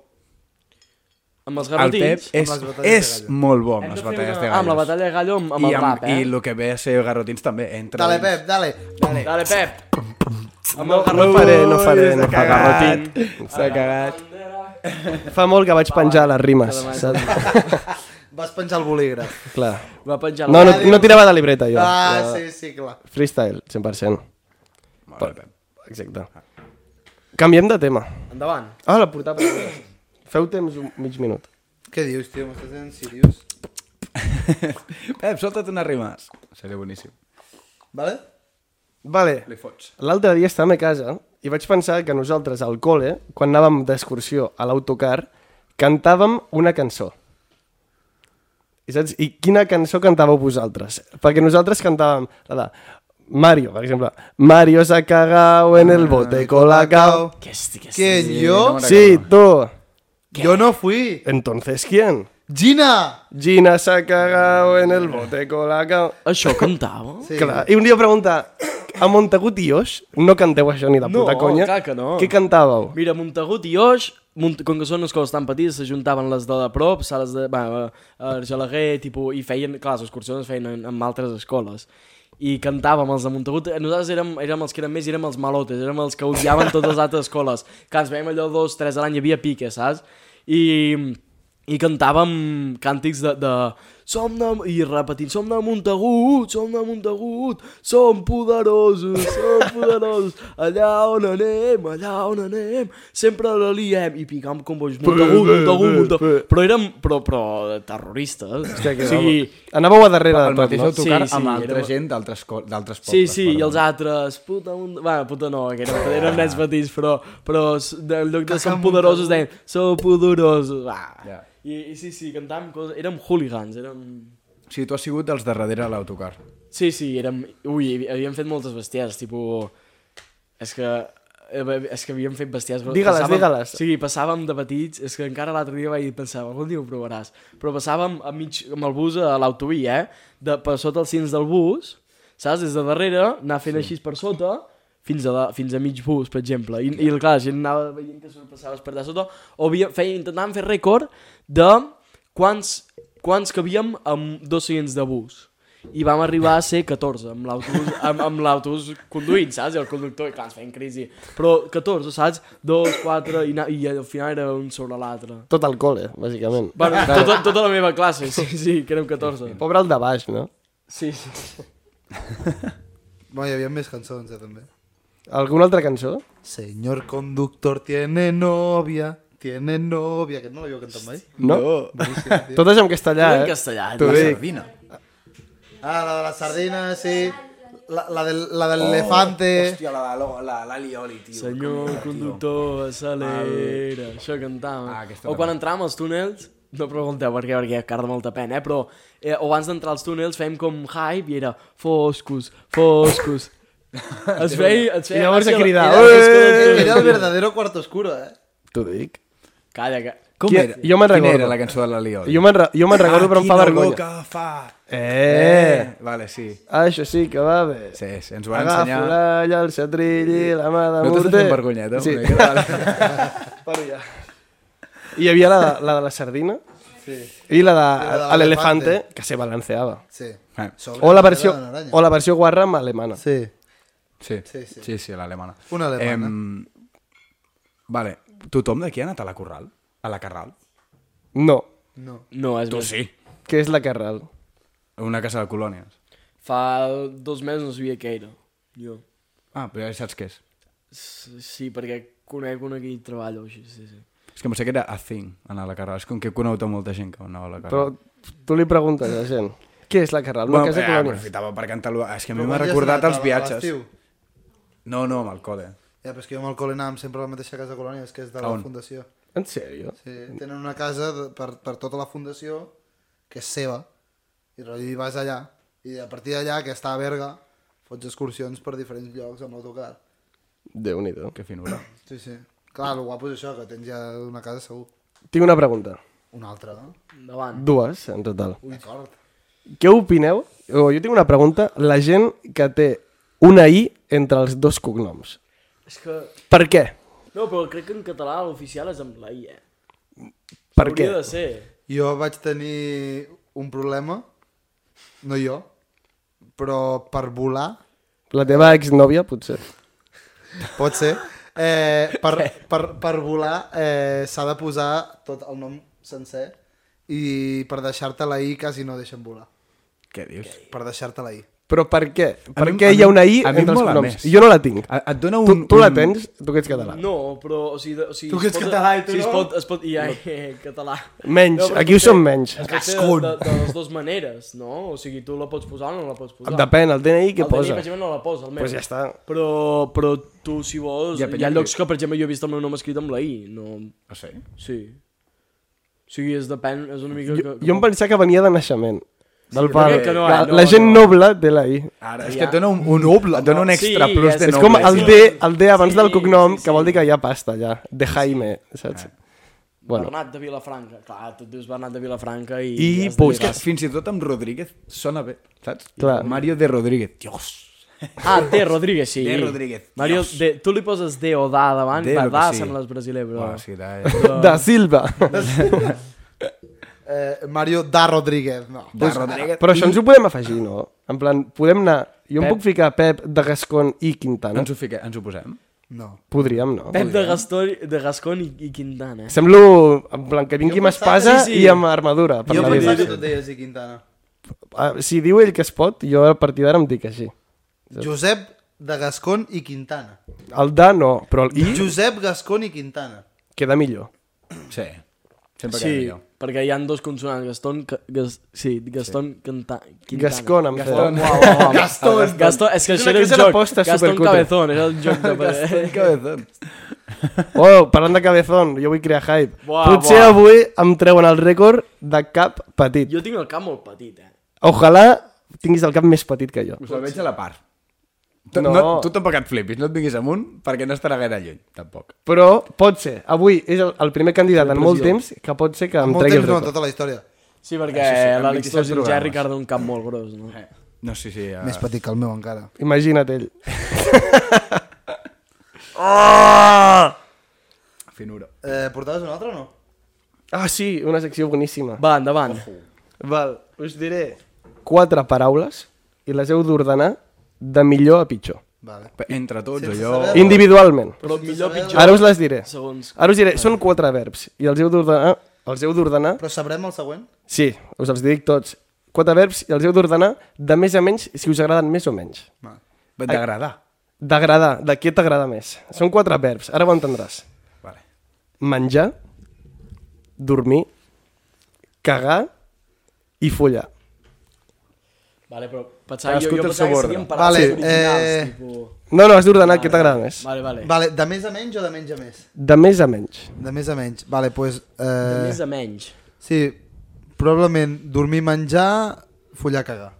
D: Amb els
C: El Pep
D: garrotins.
C: és,
A: les batalles de
C: és
A: gallos.
C: molt bo amb
D: Hem de
C: les
D: fer
C: batalles
D: una-
C: de gallos.
D: ah, amb la batalla de gallo amb, amb
C: I,
D: el rap, eh?
C: I el que ve a ser garrotins també. Entra
A: Dale,
C: dins.
A: Pep, dale, dale.
D: Dale, Pep. Amb el
E: No faré, no faré, no
C: s'ha
E: fa garrotin. S'ha cagat. Fa molt que vaig penjar les rimes, saps?
A: Vas penjar el bolígraf.
E: [LAUGHS] Clar.
D: Va penjar
E: No, no, no tirava de libreta, jo.
A: Ah, sí, sí, clar.
E: Freestyle, 100%.
C: Molt bé, Pep.
E: Exacte. Canviem de tema.
D: Endavant.
E: Ah, la portava. Feu temps un mig minut.
A: Què dius, tio? M'estàs sent seriós?
C: Pep, [LAUGHS] solta't unes rimes. Seria boníssim.
A: Vale?
E: Vale.
C: Li fots.
E: L'altre dia estàvem a casa i vaig pensar que nosaltres al col·le, quan anàvem d'excursió a l'autocar, cantàvem una cançó. I, saps? I quina cançó cantàveu vosaltres? Perquè nosaltres cantàvem la de Mario, per exemple. Mario s'ha cagao en el
D: Ah,
E: bote colacao.
D: Què és, què és?
A: Que
C: no
A: jo...
C: me'n
E: Sí, tú.
A: Jo no fui.
E: Entonces, ¿quién?
A: Gina!
E: Gina s'ha cagao en el bote colacao.
D: Això cantava?
A: Sí.
E: Clar, i un dia preguntar, a Montagut i Oix no canteu això ni de
D: No,
E: puta conya.
D: clar que no.
E: Què cantàveu?
D: Mira, Montagut i Oix, Mont... com que són escoles tan petites, s'ajuntaven les de a prop, sales de... Bueno, Argelaguer, tipus, i feien... Clar, les excursions es feien en, amb altres escoles. I cantàvem els de Montagut. Eh, Nosaltres érem, érem els que eren més, érem els malotes, érem els que odiaven totes les altres escoles. Que ens veiem allò dos, tres a l'any, hi havia pique, saps? I, i cantàvem càntics de, de som de, i repetint, som de Montagut, som de Montagut, som poderosos, som poderosos, allà on anem, allà on anem, sempre la liem, i picam com boig, Montagut, Montagut, Montagut, però érem, però, però, terroristes,
E: Hòstia, que
D: o sigui,
E: Anàveu a darrere
C: El
E: de tot,
C: mateix
E: no?
C: autocar
D: Sí, sí,
C: amb
D: era-
C: altra gent d'altres co- d'altres pobles.
D: Sí, sí, i
C: perdó.
D: els altres, puta, un... bueno, puta no, que eren, eren nens petits, però, però s- de- en lloc de som poderosos deien, som poderosos, va.
C: Ja.
D: I, i sí, sí, cantàvem coses... Érem hooligans, érem...
C: O sigui, tu has sigut dels de darrere a l'autocar.
D: Sí, sí, érem... Ui, havíem fet moltes bestieses, tipus... És que... eh, És que havíem fet bestieses... però
E: Digue-les,
D: passàvem-
E: digue-les.
D: Sí, passàvem de petits, és que encara l'altre dia vaig pensar, algun dia ho provaràs, però passàvem a mig, amb el bus a l'autovia, eh? De, per sota els cins del bus, saps? Des de darrere, anar fent sí. així per sota, fins a, la, fins a mig bus, per exemple. I, i clar, la gent anava veient que sorpassaves per allà sota, o havia, feia, intentàvem fer rècord de quants, quants que havíem amb dos seients de bus. I vam arribar a ser 14 amb l'autobús amb, amb l'autobús conduint, saps? I el conductor, i clar, ens feien crisi. Però 14, saps? 2, 4, i, na, i al final era un sobre l'altre.
E: Tot al col·le, bàsicament.
D: Bueno, tota, tota la meva classe, sí, sí, que érem 14.
E: Pobre el de baix, no?
D: Sí, sí.
A: Bueno, hi havia més cançons, eh, també.
E: Alguna altra cançó?
A: Señor conductor tiene novia, tiene novia. Aquest no l'havíeu cantat mai?
E: No.
A: Boníssim, tio.
E: Totes en castellà,
D: En
E: eh?
D: castellà.
C: T'ho dic. Sardina.
A: Ah, la de la sardina, sí. La, la del, la del
E: Eh.
A: elefante.
C: Hòstia, la, la, la, la Lioli, tio.
D: Senyor conductor, acelera. Això cantàvem.
C: Ah, aquesta
D: o quan entràvem als túnels, no pregunteu per què, perquè carda molta pena, eh? però eh, o abans d'entrar als túnels fèiem com hype i era foscos,
C: [LAUGHS]
D: foscos. es veia... Es veia
E: I llavors
D: gràcia
E: a cridar,
D: la- era la disco dels túnels.
A: Eh, Era el verdadero cuarto oscuro, eh?
E: T'ho dic.
D: Calla, que...
C: Com
E: Qui-
C: era?
E: jo me'n recordo.
C: Quina era la cançó de la Lioli?
E: Jo me'n re- jo me'n recordo, però em fa vergonya.
C: Quina boca fa...
E: Eh!
C: Vale, sí.
E: Ah, això sí que va bé.
C: Sí, sí, ens ho van
E: Agafo
C: ensenyar.
E: l'alla, el setrill i la mà de
C: No t'estàs
E: morter.
C: fent eh, vergonyeta?
E: Sí.
C: Una mica,
E: [LAUGHS]
C: vale.
E: Paro ja.
C: eh?
E: I hi havia la, de- la de la sardina
A: Sí.
E: i la
A: I la
E: de
A: de
E: l'elefante,
A: l'elefante.
E: que se balanceava.
A: Sí.
C: Ah,
A: Sobre
E: O la
A: la
E: versió,
A: pedra d'una aranya.
E: o la versió guarra amb alemana.
A: Sí.
C: Sí,
A: Sí, sí.
C: sí, sí l'alemana.
A: Una alemana.
C: Em, vale, tothom d'aquí ha anat a la Corral? A la Carral?
E: No,
A: No.
D: No, és més.
C: sí.
E: que és la Carral.
C: Una casa de colònies.
D: Fa dos mesos no sabia què era. Jo.
C: Ah, però ja saps què és.
D: S- Sí, perquè conec un aquí i treballo, així, sí, sí.
C: És que em sé que era a thing, anar a la Carral. És com que he conegut a molta gent que anava a la
E: Però
C: Carral.
E: tu li preguntes a la gent, què és la Carral? Una casa
C: eh,
E: colònia.
C: aprofitava per cantar-lo. És que a mi
A: Però
C: m'ha
A: quan hi has
C: recordat
A: anat,
C: els
A: a- a
C: viatges.
A: l'estiu?
C: No, no, amb el col·le.
A: Ja, però és que jo amb el col·le anàvem sempre a la mateixa casa de colònia, és que és de la
C: On?
A: fundació.
E: En sèrio?
A: Sí, tenen una casa de, per, per tota la fundació que és seva i rotllo, hi vas allà i a partir d'allà que està a Berga fots excursions per diferents llocs amb l'autocar
E: Déu-n'hi-do.
C: Que finura.
A: sí, sí. clar, el guapo és això que tens ja una casa segur
E: Tinc una pregunta.
A: una altra, no?
D: Endavant.
E: Dues, en total.
A: d'acord
E: Què opineu? O jo tinc una pregunta. La gent que té una I entre els dos cognoms.
D: És que...
E: Per què?
D: No, però crec que en català l'oficial és amb la I, eh?
E: Per què?
D: Hauria de ser.
A: jo vaig tenir un problema no jo però per volar
E: La teva exnòvia, potser.
A: pot ser eh, per, per, per volar eh, s'ha de posar tot el nom sencer i per deixar-te la I quasi no deixen volar
C: Què dius?
A: per deixar-te la I.
E: Però per què? Per
C: mi-
E: què
C: a
E: hi ha
C: mi-
E: una I
C: a mi em
E: entre els
C: mola
E: cognoms?
C: més.
E: Jo no la tinc.
C: A- Et dona
E: Tu,
C: un...
E: tu la
C: un-
E: tens? Tu que ets català.
D: No, però, o sigui... de- O sigui
A: Tu que
D: es
A: ets
D: pot-
A: català i tu
D: sí, es
A: no?
D: pot, es pot, i ai, [LAUGHS] eh, català.
E: Menys.
D: No, però
E: Aquí ho
D: potser-
E: som menys.
D: Es pot fer de, de, de les dues maneres, no? O sigui, tu la pots posar o no la pots posar.
E: Depèn, el DNI què
D: el
E: posa?
D: Dani, per exemple, no la posa, el meu.
E: Pues ja està.
D: Però, però tu, si vols...
C: Hi ha
D: Ja,
C: penya
D: hi ha
C: que-
D: llocs que, per exemple, jo he vist el meu nom escrit amb la I. No...
C: No sé.
D: Sí. O sigui, és depèn... És una mica...
E: Jo,
D: que,
E: jo em pensava que venia de naixement. Del
D: però
E: pare.
D: crec que no,
E: la,
D: eh, no,
E: la gent
D: no.
E: noble té la I.
C: Ara, és
D: Ja.
C: que et dona un, un noble, et dona un
D: Sí,
C: extra
D: ja
C: plus
D: sé.
C: de
E: És
C: noble.
E: com el
D: sí.
E: D, el D abans
D: Sí,
E: del cognom,
D: sí, sí. Ah.
E: que vol dir que ja pasta, ja. De Jaime, saps? Bueno,
D: Bernat de Vilafranca. Clar, tu et dius Bernat de Vilafranca i...
E: I
D: has de
E: puc-
C: És que
D: dir-
C: fins i tot amb Rodríguez sona bé, saps?
E: Clar.
C: Mario de Rodríguez. Dios.
D: Ah, D. Rodríguez, sí.
C: D. Rodríguez.
D: Mario,
C: Dios.
D: D, tu li poses D o Da davant,
C: D,
D: D, per
C: lo que
D: Da
C: sigui.
D: sembles brasiler, però...
C: Bueno, sí, da,
E: da
D: [LAUGHS]
E: Silva.
A: Eh, Mario da Rodríguez, no.
C: da Rodríguez.
E: Però això ens ho podem afegir, no? En plan, podem anar... Jo em
D: Pep.
E: puc ficar Pep de Gascon i Quintana?
C: Ens ho, fique, ens ho posem?
A: No.
E: Podríem, no?
D: Pep
C: eh?
D: de, Gaston, de Gascon i, i Quintana, eh?
E: Semblo, en plan, que vingui amb
A: pensava-
E: espasa
D: sí, sí.
E: i amb armadura. Per
A: Jo
E: la
A: pensava
E: vida.
A: que tu et deies i Quintana.
E: Ah, Si diu ell que es pot, jo a partir d'ara em dic així.
A: Josep de Gascon i Quintana.
E: El da no, però el i
A: Josep Gascon i Quintana.
E: queda millor.
C: Sí. Sempre
D: Sí,
C: sí. queda millor.
D: perquè hi han dos consonants, Gaston, Ca- Gas, sí, Gaston sí. Canta, Quintana.
E: Gascon, em
C: Gaston.
E: fa.
D: Gaston, Gaston, és que
E: És
D: això
E: una
D: era un
E: casa
D: joc.
E: d'apostes
C: [LAUGHS]
D: Gaston
E: supercutre.
D: Cabezón, era el joc de...
C: Cabezón.
E: Oh, parlant de Cabezón, jo vull crear hype.
D: Buah,
E: Potser
D: buah.
E: avui em treuen el rècord de cap petit.
D: Jo tinc el cap molt petit, eh?
E: Ojalà tinguis el cap més petit que jo.
C: Us el veig a la part.
E: No.
C: No. no. Tu tampoc et flipis, no et vinguis amunt, perquè no estarà gaire lluny, tampoc.
E: Però pot ser. Avui és el, el primer candidat en molt temps que pot ser que em
A: Molt
E: tregui el
A: temps no,
E: rècord.
A: tota la història.
D: Sí, perquè
C: Això sí, amb
D: l'Àlex
C: 27
D: Tos i el Jerry
C: programes.
D: carden un cap molt gros, no? Eh.
C: No, sí, sí. Uh...
A: Més petit que el meu encara.
E: Imagina't ell.
C: Ah! Finura.
A: Eh, portaves una altra o no?
E: Ah, sí, una secció boníssima.
D: Va, endavant.
E: Val, us diré quatre paraules i les heu d'ordenar de millor a pitjor.
A: Vale.
C: Entre tots,
A: Sense
C: allò...
A: saber-
E: Individualment.
D: Però millor pitjor,
E: Ara us les diré.
D: segons...
E: Ara us diré, són quatre verbs i els heu d'ordenar... Els heu d'ordenar...
A: Però sabrem el següent?
E: Sí, us els dic tots. Quatre verbs i els heu d'ordenar de més a menys si us agraden més o menys.
C: T'agradar.
E: D'agradar, de què t'agrada més. Són quatre verbs, ara ho entendràs.
C: Vale.
E: Menjar, dormir, cagar i follar.
D: Vale, però pensava, jo,
C: Cadascú
D: jo
C: té el
D: pensava
C: seu
D: que
C: ordre.
D: serien paraules
A: Vale,
D: originals,
A: eh,
D: tipus...
E: No, no, has d'ordenar què t'agrada més.
D: Vale, vale.
A: Vale, de més a menys o de menys a més?
E: De més a menys.
A: De més a menys. Vale, pues,
D: De
A: eh,
D: més a menys.
A: sí, probablement dormir, menjar, follar, cagar.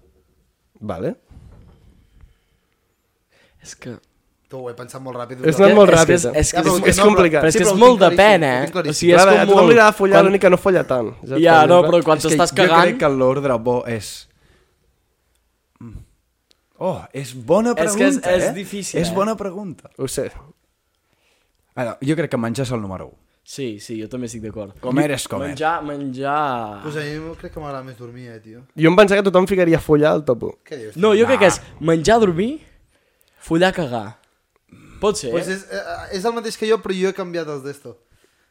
E: Vale.
D: És que...
A: Tu ho he pensat molt ràpid.
E: És anat molt ràpid.
D: És, és,
A: Ja,
D: que
A: però
D: és,
A: que
D: és,
A: no,
D: complicat.
E: però-
D: Però és
A: sí,
D: que
A: però
D: és
A: ho
D: molt
A: tinc
D: de pena,
A: claríssim, ho
D: eh?
A: tinc claríssim.
D: O sigui, és
E: Clar, a
D: com
E: tothom li
D: molt...
E: agrada follar,
D: quan-
E: l'únic que no folla tant. Ja
D: Ja,
E: està,
D: no,
E: clar.
D: però quan t'estàs
C: Jo crec
D: cagant...
C: que l'ordre bo és... Mm. Oh, és bona
D: És
C: pregunta,
D: que és- és
C: eh?
D: difícil,
C: És
D: eh?
C: bona pregunta.
E: Ho sé.
C: Ara, jo crec que menjar és el número 1.
D: Sí, sí, jo també estic d'acord.
C: Comer és comer.
D: Menjar, menjar...
A: Pues a mi crec que m'agrada més dormir, eh, tio.
E: Jo em pensava que tothom ficaria follar al top 1.
A: Què dius?
D: No, jo crec que és menjar, dormir, follar, cagar. Pot ser,
A: Pues
D: eh?
A: és, eh, és el mateix que jo, però jo he canviat els d'esto.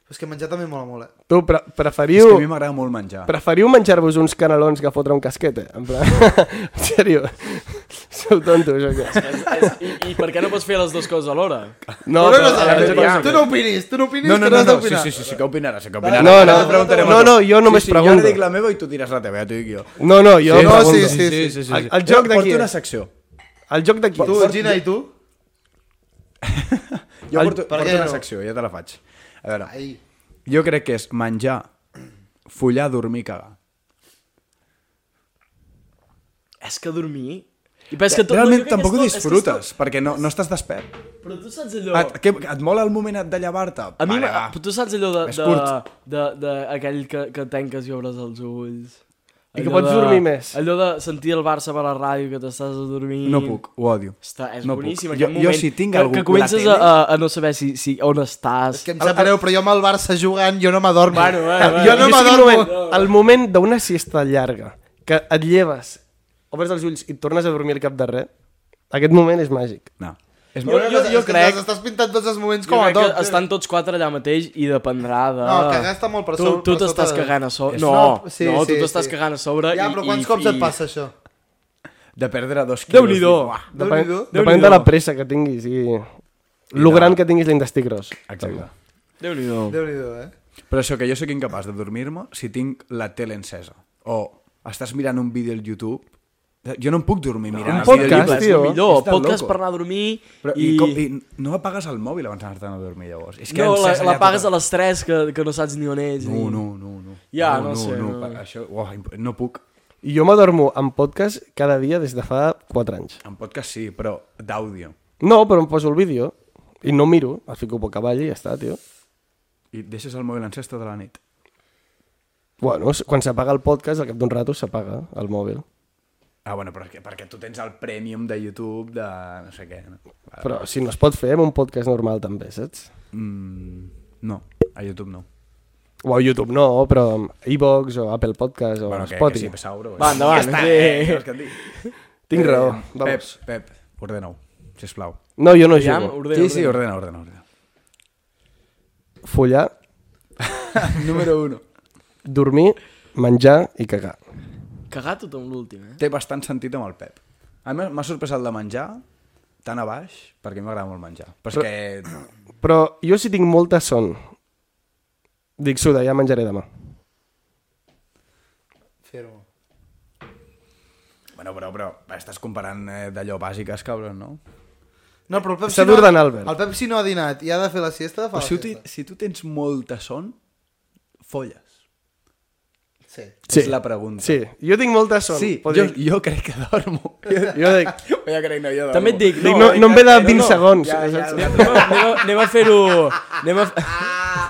A: Però és que menjar també mola molt, eh?
E: Tu, pre
C: És que a mi
E: preferiu...
C: m'agrada molt menjar.
E: Preferiu menjar-vos uns canelons que fotre un casquet, eh? En plan... [LAUGHS] en sèrio. Sou tontos o què?
D: És, és, i, I per què no pots fer les dues coses alhora?
E: No,
A: Però
E: però...
A: no,
E: però-
A: no, tu no opinis, tu no opinis
C: No, no,
A: que no
C: no,
A: has
C: no, sí,
A: d'opinar.
C: sí, sí, sí que opinaràs, sí que opinaràs.
E: No,
C: Ara
E: no,
C: et preguntarem
E: no,
C: a tu.
E: no, jo només
C: sí, sí,
E: pregunto.
C: Jo dic la meva i tu diràs la teva, ja t'ho dic jo.
E: No, no, jo...
A: Sí, no,
E: pregunto.
A: sí, sí. Eh,
E: El- el joc de qui
C: Porto
E: és?
C: una secció.
E: El joc d'aquí.
A: Tu, Gina, i tu?
C: Jo porto,
A: per
C: porto
A: què
C: una
A: no?
C: secció, ja te la faig. A veure,
A: Ai,
C: jo crec que és menjar, follar, dormir, cagar.
D: És que dormir... I però és que tot,
C: Realment
D: jo crec que
C: tampoc ho
D: és tot- és que és tot-
C: disfrutes, perquè no, no estàs despert.
D: Però tu saps allò...
C: Et, que, et mola el moment de llevar-te?
D: a mi,
C: Vale,
D: vale,
C: va.
D: tu saps allò de,
C: Més
D: de,
C: curt.
D: de, de aquell que, que tanques i obres els ulls.
E: I que
D: Allò
E: pots
D: de-
E: dormir més.
D: Allò de sentir el Barça per la ràdio, que t'estàs adormint...
C: No puc, ho odio.
D: Està, és
C: No
D: no
C: puc.
D: boníssim
C: Jo-
D: aquest
C: jo
D: moment.
C: si tinc
D: que,
C: algú
D: que
C: a la
D: comences
C: tele-
D: a, a, a no saber si, si, on estàs.
A: és que em sap greu, però jo amb el Barça jugant, jo no m'adormo.
D: Bueno,
E: Ah,
D: eh, bueno.
A: jo no
E: és el
A: m'adormo.
E: moment, el moment d'una siesta llarga, que et lleves, obres els ulls i et tornes a dormir al cap de res, aquest moment és màgic.
C: No. És
D: Jo-
C: molt...
D: jo- jo crec-
A: Estàs pintant tots els moments
D: Jo
A: com a
D: crec
A: tot. eh.
D: que estan tots quatre allà mateix i dependrà de...
A: No, cagar està molt per
D: tu,
A: sobre-
D: Tu
A: per
D: t'estàs
A: sota de-
D: cagant a sobre.
A: És-
D: No, no,
A: sí,
D: tu
A: sí,
D: t'estàs
A: sí.
D: cagant a sobre
A: Ja,
D: i...
A: però quants
D: i,
A: cops
D: i...
A: et passa això?
C: De perdre dos quilos.
D: Déu-n'hi-do.
C: Uah.
E: Depèn,
A: Déu-n'hi-do.
E: depèn de la pressa que tinguis i lo gran que tinguis l'intestí gros.
C: Exacte.
D: Déu-n'hi-do.
A: Déu-n'hi-do, eh?
C: Però això, que jo sóc incapaç de dormir-me si tinc la tele encesa. O estàs mirant un vídeo al YouTube... Jo no em puc dormir
E: un
C: mirant el vídeo
E: podcast,
C: al YouTube.
D: És
E: tio.
D: el millor,
C: És del
D: podcast
C: loco.
D: per anar a dormir
C: Però, i...
D: i...
C: I, com, I no apagues el mòbil abans d'anar-te'n a dormir, llavors. És que
D: No, la,
C: encès allà
D: l'apagues a
C: tota-
D: les 3 que, que no saps ni on ets.
C: No,
D: ni...
C: no, no. no.
D: Ja,
C: no,
D: no sé,
C: No,
D: no.
C: no. pa- Això, uah, imp- no puc.
E: I jo m'adormo amb podcast cada dia des de fa 4 anys.
C: En podcast sí, però d'àudio.
E: No, però em poso el vídeo i no miro, el fico poc avall i ja està, tio.
C: I deixes el mòbil encès tota la nit.
E: Bueno, s- quan s'apaga el podcast, al cap d'un rato s'apaga el mòbil.
C: Ah, bueno, però és que, perquè tu tens el premium de YouTube de no sé què. No, Vale.
E: Però si no es pot fer amb un podcast normal també, saps?
C: Mm, no a YouTube no.
E: O a YouTube no, però amb iVox o Apple Podcast o
C: bueno, que, que
E: Spotify.
C: sí, Pesauro.
D: Va, endavant.
C: Ja està,
D: Sí.
C: eh, què vols que et digui?
E: Tinc raó.
C: Pep,
E: Vamos.
C: Pep, ordena-ho, sisplau.
E: No, jo no
D: Aviam,
E: jugo.
D: ordena,
C: sí, sí,
D: ordena.
C: ordena, ordena. ordena.
E: Follar,
C: [LAUGHS] Número 1.
E: dormir, menjar i cagar.
D: Cagar tothom l'últim, eh?
C: Té bastant sentit amb el Pep. A mi m'ha sorprès el de menjar tan a baix, perquè a mi m'agrada molt menjar. Però és que...
E: Però jo si tinc molta son, dic suda, ja menjaré demà.
A: Firmo.
C: Bueno, però, però estàs comparant eh, d'allò bàsiques, cabron, no?
A: No, però el Pep
E: S'ha
A: si no ha-
E: d'ordenar, Albert.
A: El Pep si no ha dinat i ha de fer la siesta, fa
C: Però
A: la
C: si, tu,
A: siesta.
C: si tu tens molta son, folles.
A: Sí.
E: Sí.
C: És la pregunta.
E: Sí, jo tinc molta son.
C: Sí,
E: però
C: jo,
E: dic-
C: jo crec que dormo.
E: jo dic,
C: [LAUGHS] jo crec no, jo dormo.
D: També et dic,
E: dic
D: no,
E: no,
D: eh,
E: no em ve de
D: no,
E: 20
D: no.
E: segons.
D: Ja, ja,
E: saps?
D: anem, a, anem, a, anem a fer-ho... Anem, a-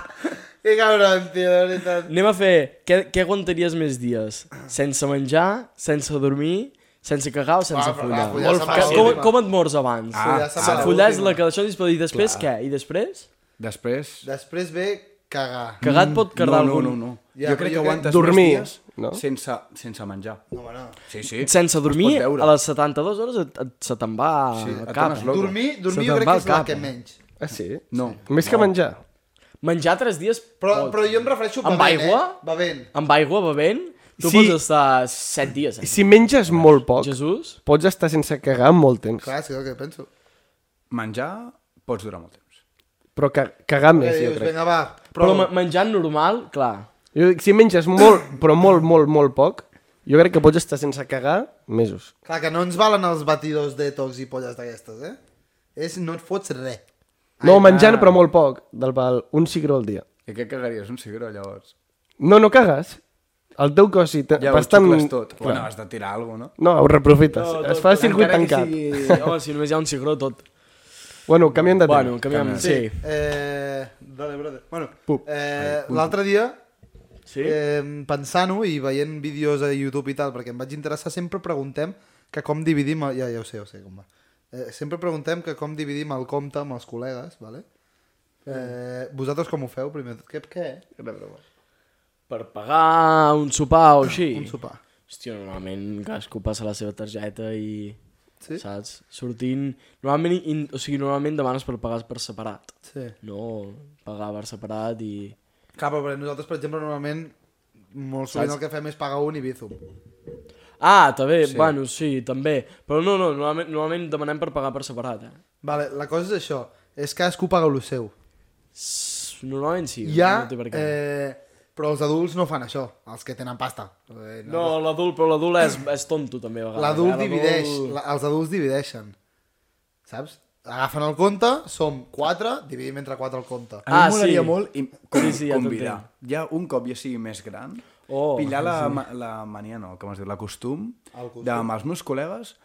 A: Que cabron, tio, de veritat.
D: anem a fer... Què, què aguantaries més dies? Sense menjar, sense dormir, sense cagar o sense
A: Va, però va,
D: follar?
A: follar se'n va
D: Ca-
A: a
D: com,
A: l'última.
D: com et mors abans?
A: Ah, ja se'n va a
D: follar és
A: l'última.
D: la que això dispara. I després què? I després?
C: Després...
A: Després ve cagar.
D: Cagat pot quedar
C: Mm, no, no,
D: algun...
C: no, no.
A: Ja, però jo
C: jo crec que
A: crec-
C: aguantes
E: Dormir,
C: més dies
E: no?
C: sense, sense menjar.
A: Home, no.
C: Sí, sí.
D: Sense dormir,
C: Es pot veure.
D: a les 72 hores et, et, se te'n va
C: Sí,
D: el
C: et
D: cap.
C: tornes
D: eh?
C: loco.
A: Dormir, dormir
D: Se
A: jo
D: te'n
A: crec que
D: va
A: és
D: el
A: la
D: cap,
A: que
D: eh?
A: menys.
E: Ah, sí?
C: No.
E: Més que menjar.
D: Menjar 3 dies
A: Però,
D: pot.
A: però jo em refereixo
D: Amb
A: bevent,
D: aigua?
A: eh? Bevent.
D: Amb aigua, bevent, tu
E: Sí.
D: pots estar 7 dies. Eh?
E: Si menges molt poc,
D: Jesús?
E: pots estar sense cagar molt temps.
A: Clar, és que és el que penso.
C: Menjar pots durar molt temps.
E: Però ca cagar
A: Què
E: més, jo
A: dius?
E: crec.
A: Vinga, Eh, va.
D: Però, però menjant normal, clar.
E: Jo dic, si menges molt, però molt, molt, molt poc, jo crec que pots estar sense cagar mesos.
A: Clar, que no ens valen els batidors detox i polles d'aquestes, eh? És, no et fots res.
E: No, menjant, però molt poc, del val un cigró al dia.
C: I què cagaries? Un cigró, llavors?
E: No, no cagues. El teu cos, si te-
C: Ja ho
E: bastant-
C: xucles tot. Bueno, has de tirar alguna cosa, no?
E: No, ho reaprofites. es fa circuit
C: Encara que
E: tancat.
C: sigui-
D: Home, si només hi ha un cigró, tot.
E: Bueno, canviem de tema.
D: Bueno, canviem. Sí.
A: Eh, dale, brother. Bueno, eh, l'altre dia,
D: Sí?
A: eh, pensant-ho i veient vídeos a YouTube i tal, perquè em vaig interessar, sempre preguntem que com dividim... El... Ja, ja ho sé, ja ho sé com va. Eh, sempre preguntem que com dividim el compte amb els col·legues, vale? Eh, vosaltres com ho feu, primer de tot? Què? què?
D: Per pagar un sopar o així.
A: Un sopar.
D: Hòstia, normalment cadascú passa la seva targeta i...
A: Sí?
D: Saps? Sortint... Normalment, in... o sigui, normalment demanes per pagar per separat.
A: Sí.
D: No pagar per separat i...
A: Clar, però nosaltres, per exemple, normalment molt sovint el que fem és pagar un i bizum.
D: Ah, també, sí. bueno, sí, també. Però no, no, normalment, normalment demanem per pagar per separat, eh?
A: Vale, la cosa és això, és cadascú paga el seu.
D: S- Normalment sí.
A: Hi ha,
D: No, té per què.
A: eh, però els adults no fan això, els que tenen pasta. Eh,
D: no l'adult, però l'adult és, és tonto també a vegades.
A: L'adult
D: eh?
A: divideix, la, els adults divideixen, saps? Agafen el compte, som 4, dividim entre 4 el compte.
C: A mi
D: Ah,
C: ah, m'agradaria
D: sí.
C: sí. molt i com,
D: Sí,
C: sí,
D: sí,
C: sí,
D: ja
C: convidar. Ja un cop ja sigui més gran,
D: Oh,
C: oh, pillar la, ma, la mania, no, com es diu, la costum,
A: costum.
C: de, amb els meus col·legues...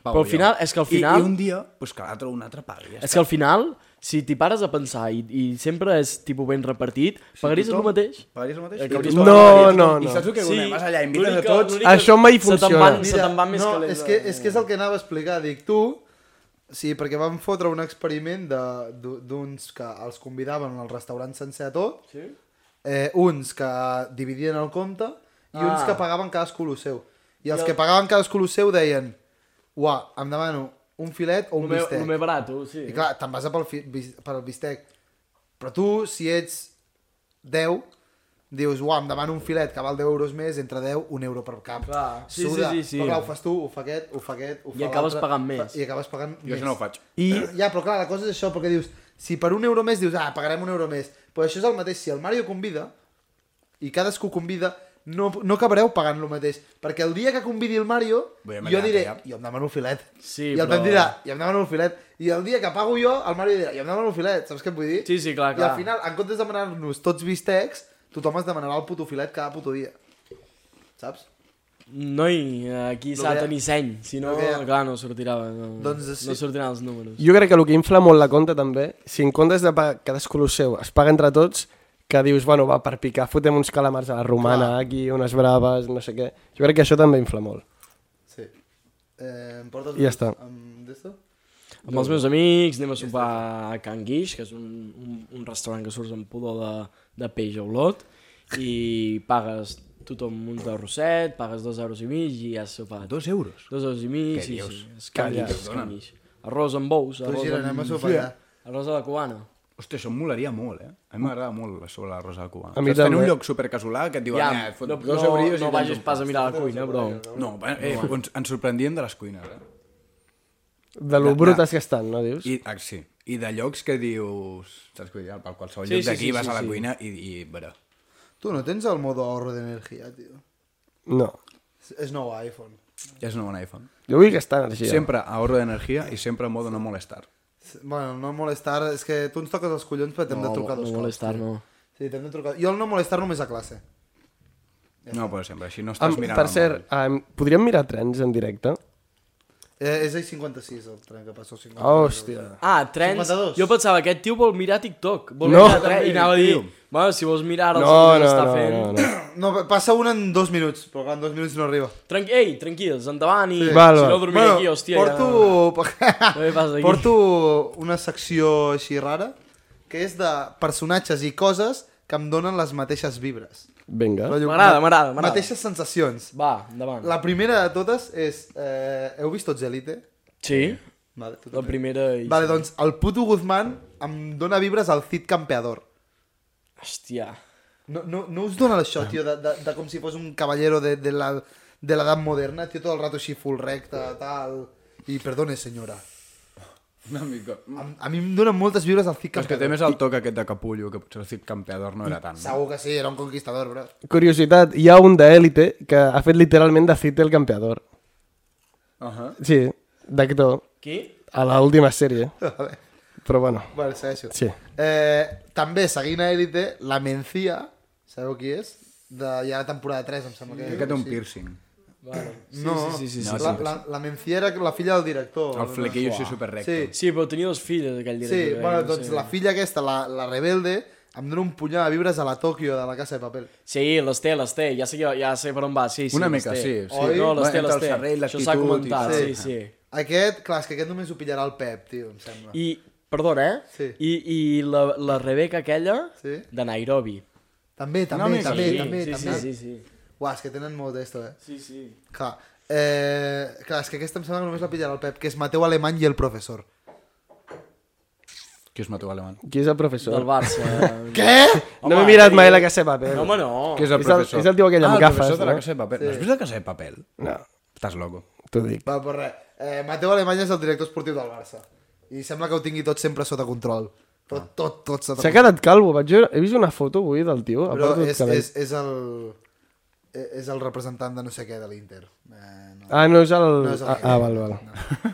C: Pau
D: Però al
C: i jo.
D: final- és que al final-
C: I, i un dia, pues, que l'altre un altre pagui. Ja
D: És que al final, si t'hi pares a pensar i, i sempre és tipus ben repartit, si pagaries el mateix?
C: Pagaries el mateix?
D: Eh, que
C: I
D: hauries
C: tothom
E: de-
C: pagaria,
E: No,
C: tothom.
E: no,
C: I saps el que sí, vas allà, invites
D: l'únic
C: a
D: que-
C: tots...
D: l'únic que
E: Això mai
D: se te'n
E: funciona.
D: van- Se te'n van més eh.
A: no,
D: calents.
A: és que, és que és el que anava a explicar, dic, tu, sí, perquè vam fotre un experiment de- d'u- d'uns que els convidaven al restaurant sencer a tot, sí? eh, uns que dividien el compte i uns
D: Ah.
A: que pagaven cadascú el seu. I els que pagaven cadascú el seu deien, uah, em demano un filet o un
D: El meu,
A: bistec.
D: el meu barat, sí.
A: I clar, te'n vas a pel, fi, bis- pel bistec. Però tu, si ets 10, dius, uah, em demano un filet que val 10 euros més, entre 10, un euro per cap.
D: Clar, sí,
A: Suda.
D: sí, sí, sí.
A: Però clar, ho fas tu, ho fa aquest, ho fa aquest, ho fa
D: I acabes
A: l'altre,
D: pagant
A: fa-
D: més.
A: I acabes pagant
C: Jo això no ho faig.
A: I... Ja, però clar, la cosa és això, perquè dius, si per un euro més dius, ah, pagarem un euro més, però això és el mateix, si el Mario convida, i cadascú convida, no, no acabareu pagant el mateix, perquè el dia que convidi el Mario,
C: Vull dir,
A: jo
C: ja,
A: diré,
C: ja.
A: jo em demano un filet,
D: Sí,
A: i el
D: però-
A: Pep dirà, i em demano un filet, i el dia que pago jo, el Mario dirà, jo em demano un filet, saps què et vull dir?
D: Sí, sí, clar,
A: I
D: clar.
A: al final, en comptes de demanar-nos tots bistecs, tothom es demanarà el puto filet cada puto dia, saps?
D: Noi, eh, aquí s'ha de
A: que-
D: tenir seny, si no,
A: el que-
D: clar, no sortirà, no,
A: Doncs sí.
D: no sortiran els números.
E: Jo crec que el que infla molt la compta també, si en comptes de pagar cadascú el seu, es paga entre tots, que dius, bueno, va, per picar, fotem uns calamars a la romana, aquí, unes braves, no sé què. Jo crec que això també infla molt.
A: Sí. Eh, em portes
E: I ja està.
A: Amb... D'esto?
D: Amb els meus amics anem a sopar a Can Guix, que és un, un, un restaurant que surts amb pudor de, de peix a Olot, i pagues tothom un de rosset, pagues dos euros i mig i has sopat.
C: Dos euros.
D: Dos euros i mig, sí, sí. És Can
C: dius,
D: Guix, és
C: dona?
D: Can Guix. Arròs amb ous,
A: Tu,
D: arròs
A: Gira, anem
D: amb...
A: a sopar allà.
D: Arròs a la cubana.
C: Hòstia, això em molaria molt, eh? A mi m'agrada molt la sobre la rosa de Cuba.
E: A mi
C: Saps,
E: també.
C: tenir un lloc supercasolà que et diuen,
D: Ja,
C: ja, eh, fot
D: no,
C: dos
D: no,
C: eurillos
D: no
C: i
D: vagis
C: tens un
D: pas a
C: plat."
D: mirar la cuina, bro.
C: No, eh, ens, ens sorprendíem de les cuines, eh?
E: De lo
C: Ja, ja.
E: brutes que estan, no dius?
C: I, ah, sí. I de llocs que dius... Saps que per qualsevol
D: Sí,
C: lloc
D: sí,
C: d'aquí
D: sí,
C: vas
D: sí,
C: a la
D: sí.
C: cuina i... i veure.
A: Tu no tens el modo ahorro d'energia, tio.
E: No.
A: És nou iPhone.
C: És no un iPhone.
E: Jo vull gastar energia.
C: Sempre ahorro d'energia i sempre en modo no molestar.
A: Bueno, no molestar, és que tu ens toques els collons perquè t'hem de trucar dos
D: no
A: cops.
D: molestar, no.
A: Sí, t'hem de trucar... Jo el no molestar només a classe.
C: No, però sempre, així no estàs
E: Am,
C: mirant
E: per
C: el
E: cert, am, podríem mirar trens en directe?
A: Eh, és el 56, el tren que passa el 50.
E: Hòstia.
D: Ah, trens.
A: 52.
D: Jo pensava, aquest tio vol mirar TikTok. Vol
E: No.
D: mirar trens. I anava a dir, bueno, si vols mirar ara
E: No, no, no,
D: el segon està
E: no,
D: fent...
E: no, no.
A: No, passa un en dos minuts, però clar, en dos minuts no arriba.
D: Tranqui Ei, tranquils, endavant i...
E: Val,
D: si no
E: val.
D: dormiré aquí, hòstia, ja...
A: porto...
D: Què passa aquí?
A: porto una secció així rara, que és de personatges i coses que em donen les mateixes vibres.
E: Eh? Vinga.
A: Rotllo,
D: M'agrada,
A: ma-
D: m'agrada, m'agrada.
A: Mateixes sensacions.
D: Va, endavant.
A: La primera de totes és... Eh, heu vist tots Elite?
D: Sí,
A: Vale, tu
D: la
A: també.
D: primera... I...
A: Vale, doncs el puto Guzmán em dóna vibres al Cid Campeador.
D: Hòstia.
A: No, no, no us dona això, tio, de, de, de com si fos un caballero de, de la- de l'edat moderna, tio, tot el rato així full recte, tal... I perdone, senyora.
C: mòbil. Una mica.
A: A, a mi em donen moltes vibres al Cid
C: És que
A: Campeador.
C: té més el toc aquest de capullo, que potser el Cid Campeador no era tant.
A: Segur que sí, era un conquistador, bro.
E: Curiositat, hi ha un d'Elite que ha fet literalment de Cid el campeador.
C: Uh -huh.
E: Sí, d'actor,
D: Qui?
E: a l'última
C: [LAUGHS]
E: sèrie.
A: Vale,
E: Però bueno,
A: vale segueixo.
E: sí.
A: Eh, també, seguint a Elite, la Mencia, sabeu qui és? De, ja la temporada 3, em sembla que...
C: Que té un piercing.
D: Vale. Sí,
A: No,
D: sí, sí, sí, sí.
A: no, la, la, la Mencia era la filla del director.
C: El flequillo així superrecte.
A: Sí,
D: Sí, però tenia dos filles, aquell
A: Sí,
D: director.
A: bueno,
D: eh, no
A: doncs
D: sé.
A: la filla aquesta, la, la rebelde, em dona un punyal de vibres a la Tòquio de la Casa de Papel.
D: Sí, les té, les té. Ja sé, que- ja sé per on va, sí, sí.
C: Una
D: les
C: mica,
D: té.
C: sí, sí.
A: Oi?
D: No, les té,
C: Entre
D: les
C: el
D: té.
C: serrell,
D: Això s'ha
C: l'actitud i
D: comentat,
A: tal.
D: sí, sí.
A: Aquest, clar, és que aquest només ho pillarà el Pep, tio, em sembla. I...
D: I, perdona, eh?
A: Sí.
D: I, i la, la Rebeca aquella,
A: Sí.
D: de Nairobi.
A: També, també,
C: mica,
A: també,
D: sí,
A: també,
D: sí,
A: també.
D: Sí, sí, sí.
A: Uah, és que tenen molt d'esto, eh?
D: Sí, sí.
A: Clar, eh, clar, és que aquesta em sembla que només la pillarà el Pep, que és Mateu Alemany i el professor.
C: Qui és Mateu Alemany?
E: Qui és el professor?
D: Del Barça.
A: Què?
E: No m'he mirat mai la Casa de Papel.
D: No, home, no.
C: Qui és
E: És
C: el
E: el-
C: professor?
E: és el tio aquell amb
C: Oh. ah,
E: gafes,
C: el professor de la
E: no?
C: Casa de Papel. Sí. No has vist la Casa de Papel?
E: No,
C: Estàs loco.
E: t'ho dic.
A: Va, però res. Eh, Mateu Alemany és el director esportiu del Barça. I sembla que ho tingui tot sempre sota control.
E: Ah.
A: Tot, tot, tot sota
E: S'ha quedat calvo, vaig veure... He vist una foto avui del tio, a
A: Però
E: part del
A: és,
E: cabell.
A: és, és el... eh, És el representant de no sé què de l'Inter. Eh, no.
E: Ah, no és el...
A: No és el
E: ah,
A: que-
E: ah, val, val.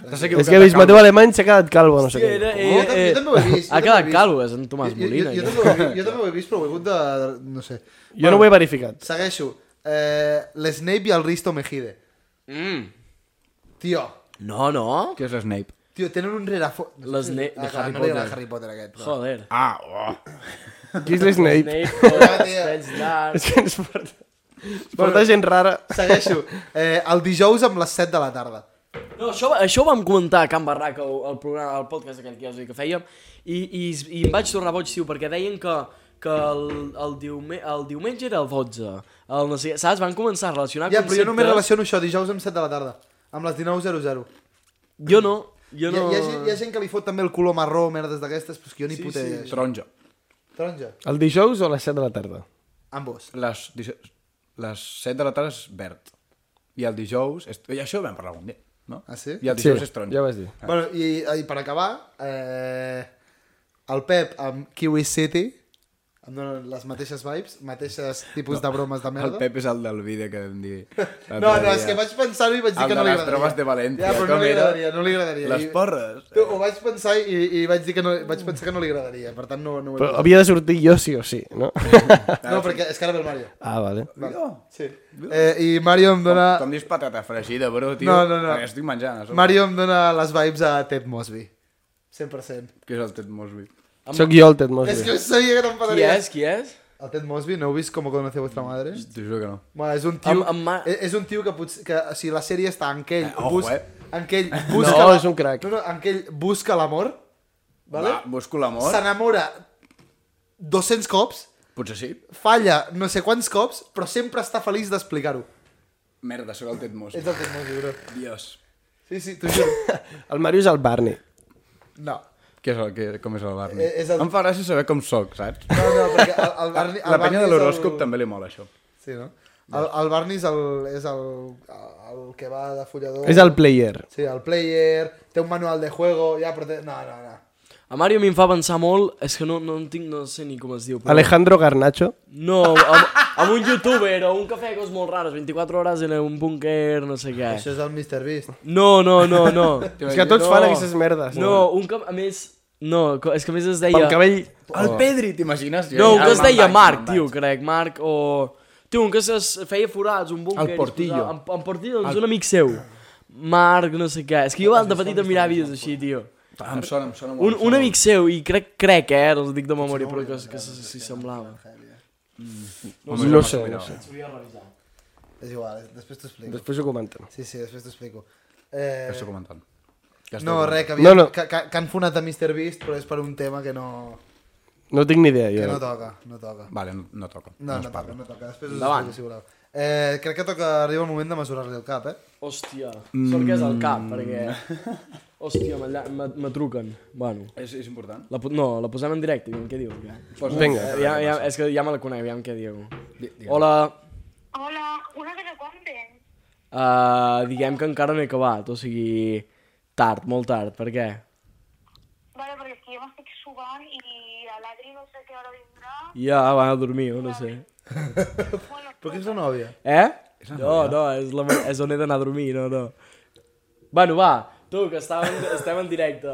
C: T'has
E: És que he vist Mateu Alemany, s'ha quedat calvo, no sé
D: Hòstia,
E: què.
D: era,
A: Jo tam- jo també ho he vist, jo
D: Eh,
A: també ho
D: ha
A: he
D: quedat
A: vist.
D: calvo, és en Tomàs
A: jo,
D: Molina.
A: jo, jo, també ho
D: ja.
A: he vist, jo també ho he vist, però ho he hagut de... No sé.
E: Jo no ho he verificat.
A: Segueixo. Eh, L'Snape i el Risto Mejide.
D: Mm.
A: Tio,
D: No, no.
C: Qui és Snape?
A: tio, tenen un rerafo... No sé si-
D: L'Snape de
A: Ah, clar,
D: Harry
A: no li agrada
D: Potter.
A: Harry Potter aquest. Però...
D: Joder.
C: Ah, oh.
E: Qui és l'Snape?
D: Snape, Potter,
A: Hòstia.
D: Pets
E: [LAUGHS]
D: d'art.
E: És que ens porta... Ens porta gent rara.
A: [LAUGHS] Segueixo. Eh, el dijous amb les 7 de la tarda.
D: No, això, això ho vam comentar a Can Barraca, el, el, programa, el podcast aquell que ja us dic que fèiem, i, i, i em vaig tornar boig, tio, perquè deien que, que el, el, diume, el diumenge era el 12. El, no sé, saps? Van començar a relacionar
A: Ja, però
D: Ah, conceptes.
A: jo només relaciono això, dijous amb 7 de la tarda. Amb les 19.00.
D: Jo no, jo
A: Hi, ha-
D: no...
A: hi, ha, gent- hi ha gent que li fot també el color marró, merdes d'aquestes, però és que jo ni sí, puta idea. d'això.
C: Taronja.
A: Taronja.
E: El dijous o a les 7 de la tarda?
A: Ambos.
C: Les, dise- les 7 de la tarda és verd. I el dijous... És... I això ho vam parlar un dia, no?
A: Ah, sí?
C: I el dijous és taronja.
E: ja ho vas dir.
A: Ah. Bueno, i, i per acabar, eh, el Pep amb Kiwi City em donen les mateixes vibes, mateixes tipus no. de bromes de merda.
C: El Pep és el del vídeo que vam dir. l'altre
A: No, no,
C: dia.
A: és que vaig pensar-ho i vaig dir
C: El
A: que
C: de
A: no li
C: les
A: agradaria.
C: trobes de València,
A: Ja, però no
C: com
A: li
C: era?
A: agradaria, no li agradaria.
C: Les
A: I-
C: porres.
A: Tu, ho vaig pensar i, i vaig dir que no, vaig pensar que no li agradaria, per tant no, no ho he
E: Però
A: pensat.
E: havia de sortir jo sí o sí, no?
A: No, perquè és que ara ve el Mario.
E: [LAUGHS] ah, vale.
A: Vale. Sí. Eh, I Mario em dona...
C: "Oh, Com dius patata fregida, bro, tio.
A: No, no, no.
C: Perquè estic menjant. a sobre.
A: Mario em dóna les vibes a Ted Mosby. 100%.
C: Que és el Ted Mosby.
E: Soc jo el Ted
A: És
E: Mosby.
A: que sabia que
D: Qui
A: t'enfadaries.
D: és? Qui és?
A: El Ted Mosby, no heu vist com conoce vuestra
E: Mm.
A: madre?
C: T'ho juro que no.
A: Bueno, és un tio, eh,
D: Amb- amb ma-
A: és, és un tio que, potser, que o sigui, la sèrie està en què ell
C: Eh, ojo, eh.
A: en què ell busca...
E: No,
A: la-
E: és un crac.
A: No, no, en què ell busca l'amor, vale?
C: Va, busco l'amor.
A: s'enamora 200 cops,
C: Potser sí.
A: falla no sé quants cops, però sempre està feliç d'explicar-ho.
C: Merda, sóc el Ted
A: És
C: Mosby.
A: el Ted Mosby, bro.
C: Dios.
A: Sí, sí, t'ho juro.
E: El Mario és el Barney.
A: No.
C: Què és el, que, com és el Barney?
A: Eh, és el-
C: Em fa gràcia saber com sóc, saps?
A: No, no, perquè el, el Barney... El
C: La penya
A: Barney
C: de
A: és
C: l'horòscop
A: el-
C: també li mola, això.
A: Sí, no? El, el Barney és el, és el, el que va de follador.
E: És el player.
A: Sí, el player, té un manual de juego, ja, però té... No, no, no.
D: A Mario a mi em fa pensar molt... És que no, no en tinc, no sé ni com es diu. Però...
E: Alejandro Garnacho.
D: No, a, amb un youtuber o un cafè, coses molt rares, 24 hores en un búnquer, no sé què.
A: Això és el Mr. Beast.
D: No, no, no, no.
E: És que tots
D: no.
E: fan aquestes merdes. eh.
D: No, un cap, a més... No, co- és que a més es deia...
E: Pel cabell...
A: Oh.
C: El Pedri, t'imagines?
D: No, un que es deia Marc,
C: Marc,
D: tio, crec, Marc, o... Tio, un que es feia forats, un búnquer...
C: El Portillo.
D: i es posava- En, en Portillo, és un amic seu. Marc, no sé què. És que jo de petit em mirava vídeos així, tio.
C: Ah, Em sona, em sona molt.
D: Un, un amic seu, i crec, crec, eh, ara els dic de memòria, però que, que s'hi s'hi semblava.
A: eh.
E: No sé, no sé.
A: És igual, eh, després t'ho explico.
E: Després ho comenten.
A: Sí, sí, després t'ho explico. Eh,
C: Estic comentant.
A: no, res, que, havia,
E: No, no.
A: Que, que, que han funat a Mr. Beast, però és per un tema que no,
E: No tinc ni idea,
A: que no
E: jo.
A: toca, no toca.
C: Vale, no, no toca.
A: No,
C: es
A: no toca,
C: parla.
A: no toca. Després us
D: Endavant.
A: explico, si voleu. Eh, crec que toca, arriba el moment de mesurar-li el cap, eh?
D: Hòstia, sort que és el cap, perquè... Hòstia, me, lla- me, me truquen. Bueno,
C: És, és important.
D: la, po- no, la posem en directe, aviam què diu.
C: Posa-
E: Vinga.
D: Eh, ja, ja, és que ja me la conec, aviam què diu.
C: Di- digue'm.
D: Hola,
F: Hola, una que no compten.
D: uh, diguem que encara no he acabat, o sigui, tard, molt tard, per què?
F: Vale, perquè és que jo m'estic subant i a l'Adri no sé què hora vindrà.
D: Ja, van a dormir, o no sé.
F: Bueno,
A: Però què és la nòvia?
D: Eh? No, no, és, la, me- és on he d'anar a dormir, no, no. Bueno, va, tu, que estàvem, estem en directe.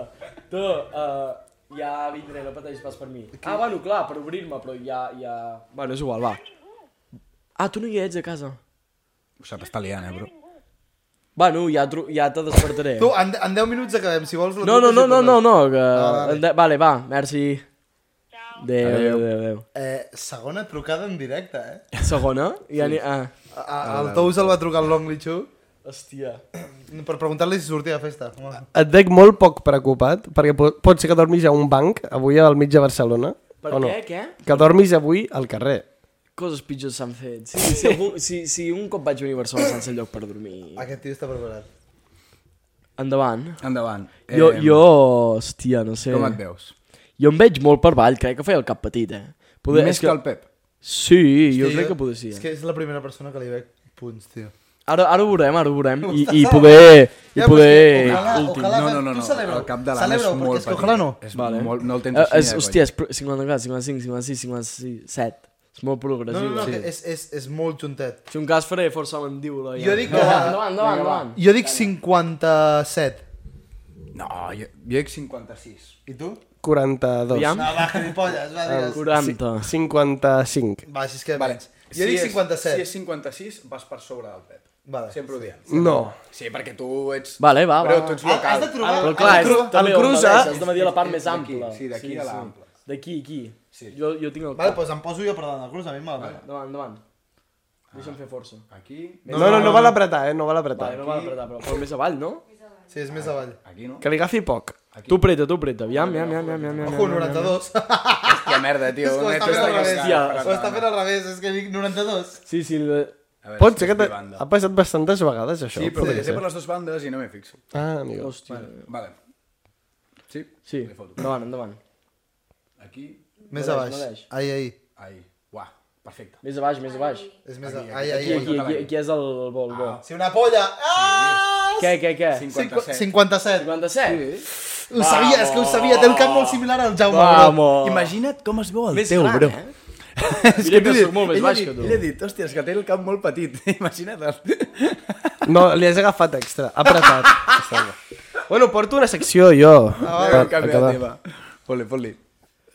D: Tu, uh, ja vindré, no pateixis pas per mi. Ah, bueno, clar, per obrir-me, però ja, ja... Bueno, és igual, va. Ah, tu no hi ets a casa.
C: Ho sap, està liant, eh, bro.
D: Bueno, ja, tru- ja te despertaré.
A: Tu, en, en 10 minuts acabem, si vols... la
D: Eh. No, no,
A: truques i
D: no, no,
A: parlem.
D: no, no, que... Vale, vale va, merci. Adéu, adéu, adéu. adéu.
A: [LAUGHS] Eh, segona trucada en directe, eh?
D: Segona? Ja ni... Ah.
A: A, a, el Tous el va trucar al Long Li Chu
D: Hòstia.
A: per preguntar-li si sortia de festa. Home.
E: Et dec molt poc preocupat, perquè po- pot ser que dormis a un banc, avui al mig de Barcelona.
D: Per
E: o no?
D: què, què?
E: Que dormis avui al carrer.
D: Coses pitjors s'han fet. Si, si, algun, si, si un cop vaig venir a Barcelona sense lloc per dormir...
A: Aquest tio està preparat.
D: Endavant.
C: Endavant.
D: Jo, jo, eh, hòstia, no sé.
C: Com et veus?
D: Jo em veig molt per avall, crec que feia el cap petit, eh? Poder,
C: Més
D: és
C: que... el Pep.
D: Sí, jo
A: Sí,
D: crec que poder sí. eh.
A: És que és la primera persona que li veig punts, tio.
D: Ara, ara ho veurem, ara ho veurem. I, i poder... I poder...
A: Ojalà,
D: últim.
A: ojalà,
C: no, no, no,
A: tu
C: no.
A: celebra-ho.
C: el cap de l'Anna és
A: Celebra-ho, perquè
C: molt
A: és que ojalà no.
C: És
D: Vale.
C: molt, no el tens
D: Eh,
C: així,
D: és,
C: eh,
D: hòstia, és pro- 54, 55, 56, 56, 7. És molt
A: No,
D: progressiu.
A: no, no,
D: sí.
A: que és, és, és molt juntet.
D: Si un cas faré força amb diu-la. Ja.
A: Jo dic que-
D: Endavant, endavant, endavant. endavant.
A: Jo dic 57.
C: coi. No, jo, jo dic 56.
A: I tu?
E: 42.
D: Aviam.
A: Ah, va, que li polles, va, digues.
D: 40.
E: 55.
A: Va, si és que vale. Jo dic
C: Si
A: 57.
C: és 56, vas per sobre del Pep.
A: Vale.
C: Sempre ho diem.
E: No.
C: Sí, perquè tu ets...
D: Vale, va,
C: Però
D: va.
C: tu ets
A: Ah,
C: local.
A: Has de trobar...
D: Però clar,
A: has
D: és,
A: de
D: el, també,
E: el
D: cruza...
E: cruza-
D: Has de dir la part més
C: d'aquí,
D: ampla.
C: sí, d'aquí a l'ample.
D: D'aquí, aquí.
C: Sí.
D: Jo, jo tinc el
A: Vale,
D: cap.
A: doncs em poso jo per davant del cruz, a mi me la pega.
D: Endavant, endavant. Deixa'm fer força.
C: Aquí,
E: No, no, no, no val apretar, eh? No val apretar.
D: Vale, no va apretar, però, però més avall, no?
A: Sí, és més avall.
C: aquí no.
E: Que li agafi poc.
D: Tu preta, tu preta. Aviam, aviam, aviam, aviam, aviam.
A: Ojo, 92.
C: Hòstia, merda, tio.
A: És que ho
C: un
A: està
C: metge
A: fent al
C: de
A: revés.
C: llistar,
A: Ho està fent al revés, és que dic 92.
D: Sí, sí. Le...
C: A veure,
E: Pot ser que
C: estic
E: t'ha-
C: privant de-
D: Ah,
E: ha passat bastantes vegades, això.
C: Sí, però
E: podria
C: perquè sé
E: ser.
C: per les dues bandes i no m'hi fixo.
E: Ah, amigo.
D: Hòstia.
C: Vale. Sí?
D: Sí,
C: Li foto.
D: endavant, endavant.
C: Aquí,
A: Més
D: No
A: a
D: deix,
A: baix.
D: no deix.
A: Ai, ai.
C: ahí. Uà, perfecte.
D: Més a baix, més a baix.
A: És més a... Ai, ai,
D: Aquí,
A: ai.
D: aquí, aquí, aquí és el vol, bo.
A: Si una polla... Ah!
D: Què, què, què?
C: 57.
A: 57.
D: 57?
A: Ho sabia, és que ho sabia. Té el cap molt similar al Jaume. bro.
D: Vamos.
C: Imagina't com es veu el
D: Més gran, eh?
C: És
D: Mira que
C: t'he dit-
D: sóc molt més
C: ell ha
D: baix
C: dit-
D: que tu.
C: Ell ha dit, hòstia, és que té el cap molt petit. [LAUGHS] Imagina't el...
E: No, li has agafat extra.
C: [LAUGHS]
E: Apretat. Està bé. bueno, porto una secció, jo.
C: Ah, canvia de tema. Fot-li, fot-li.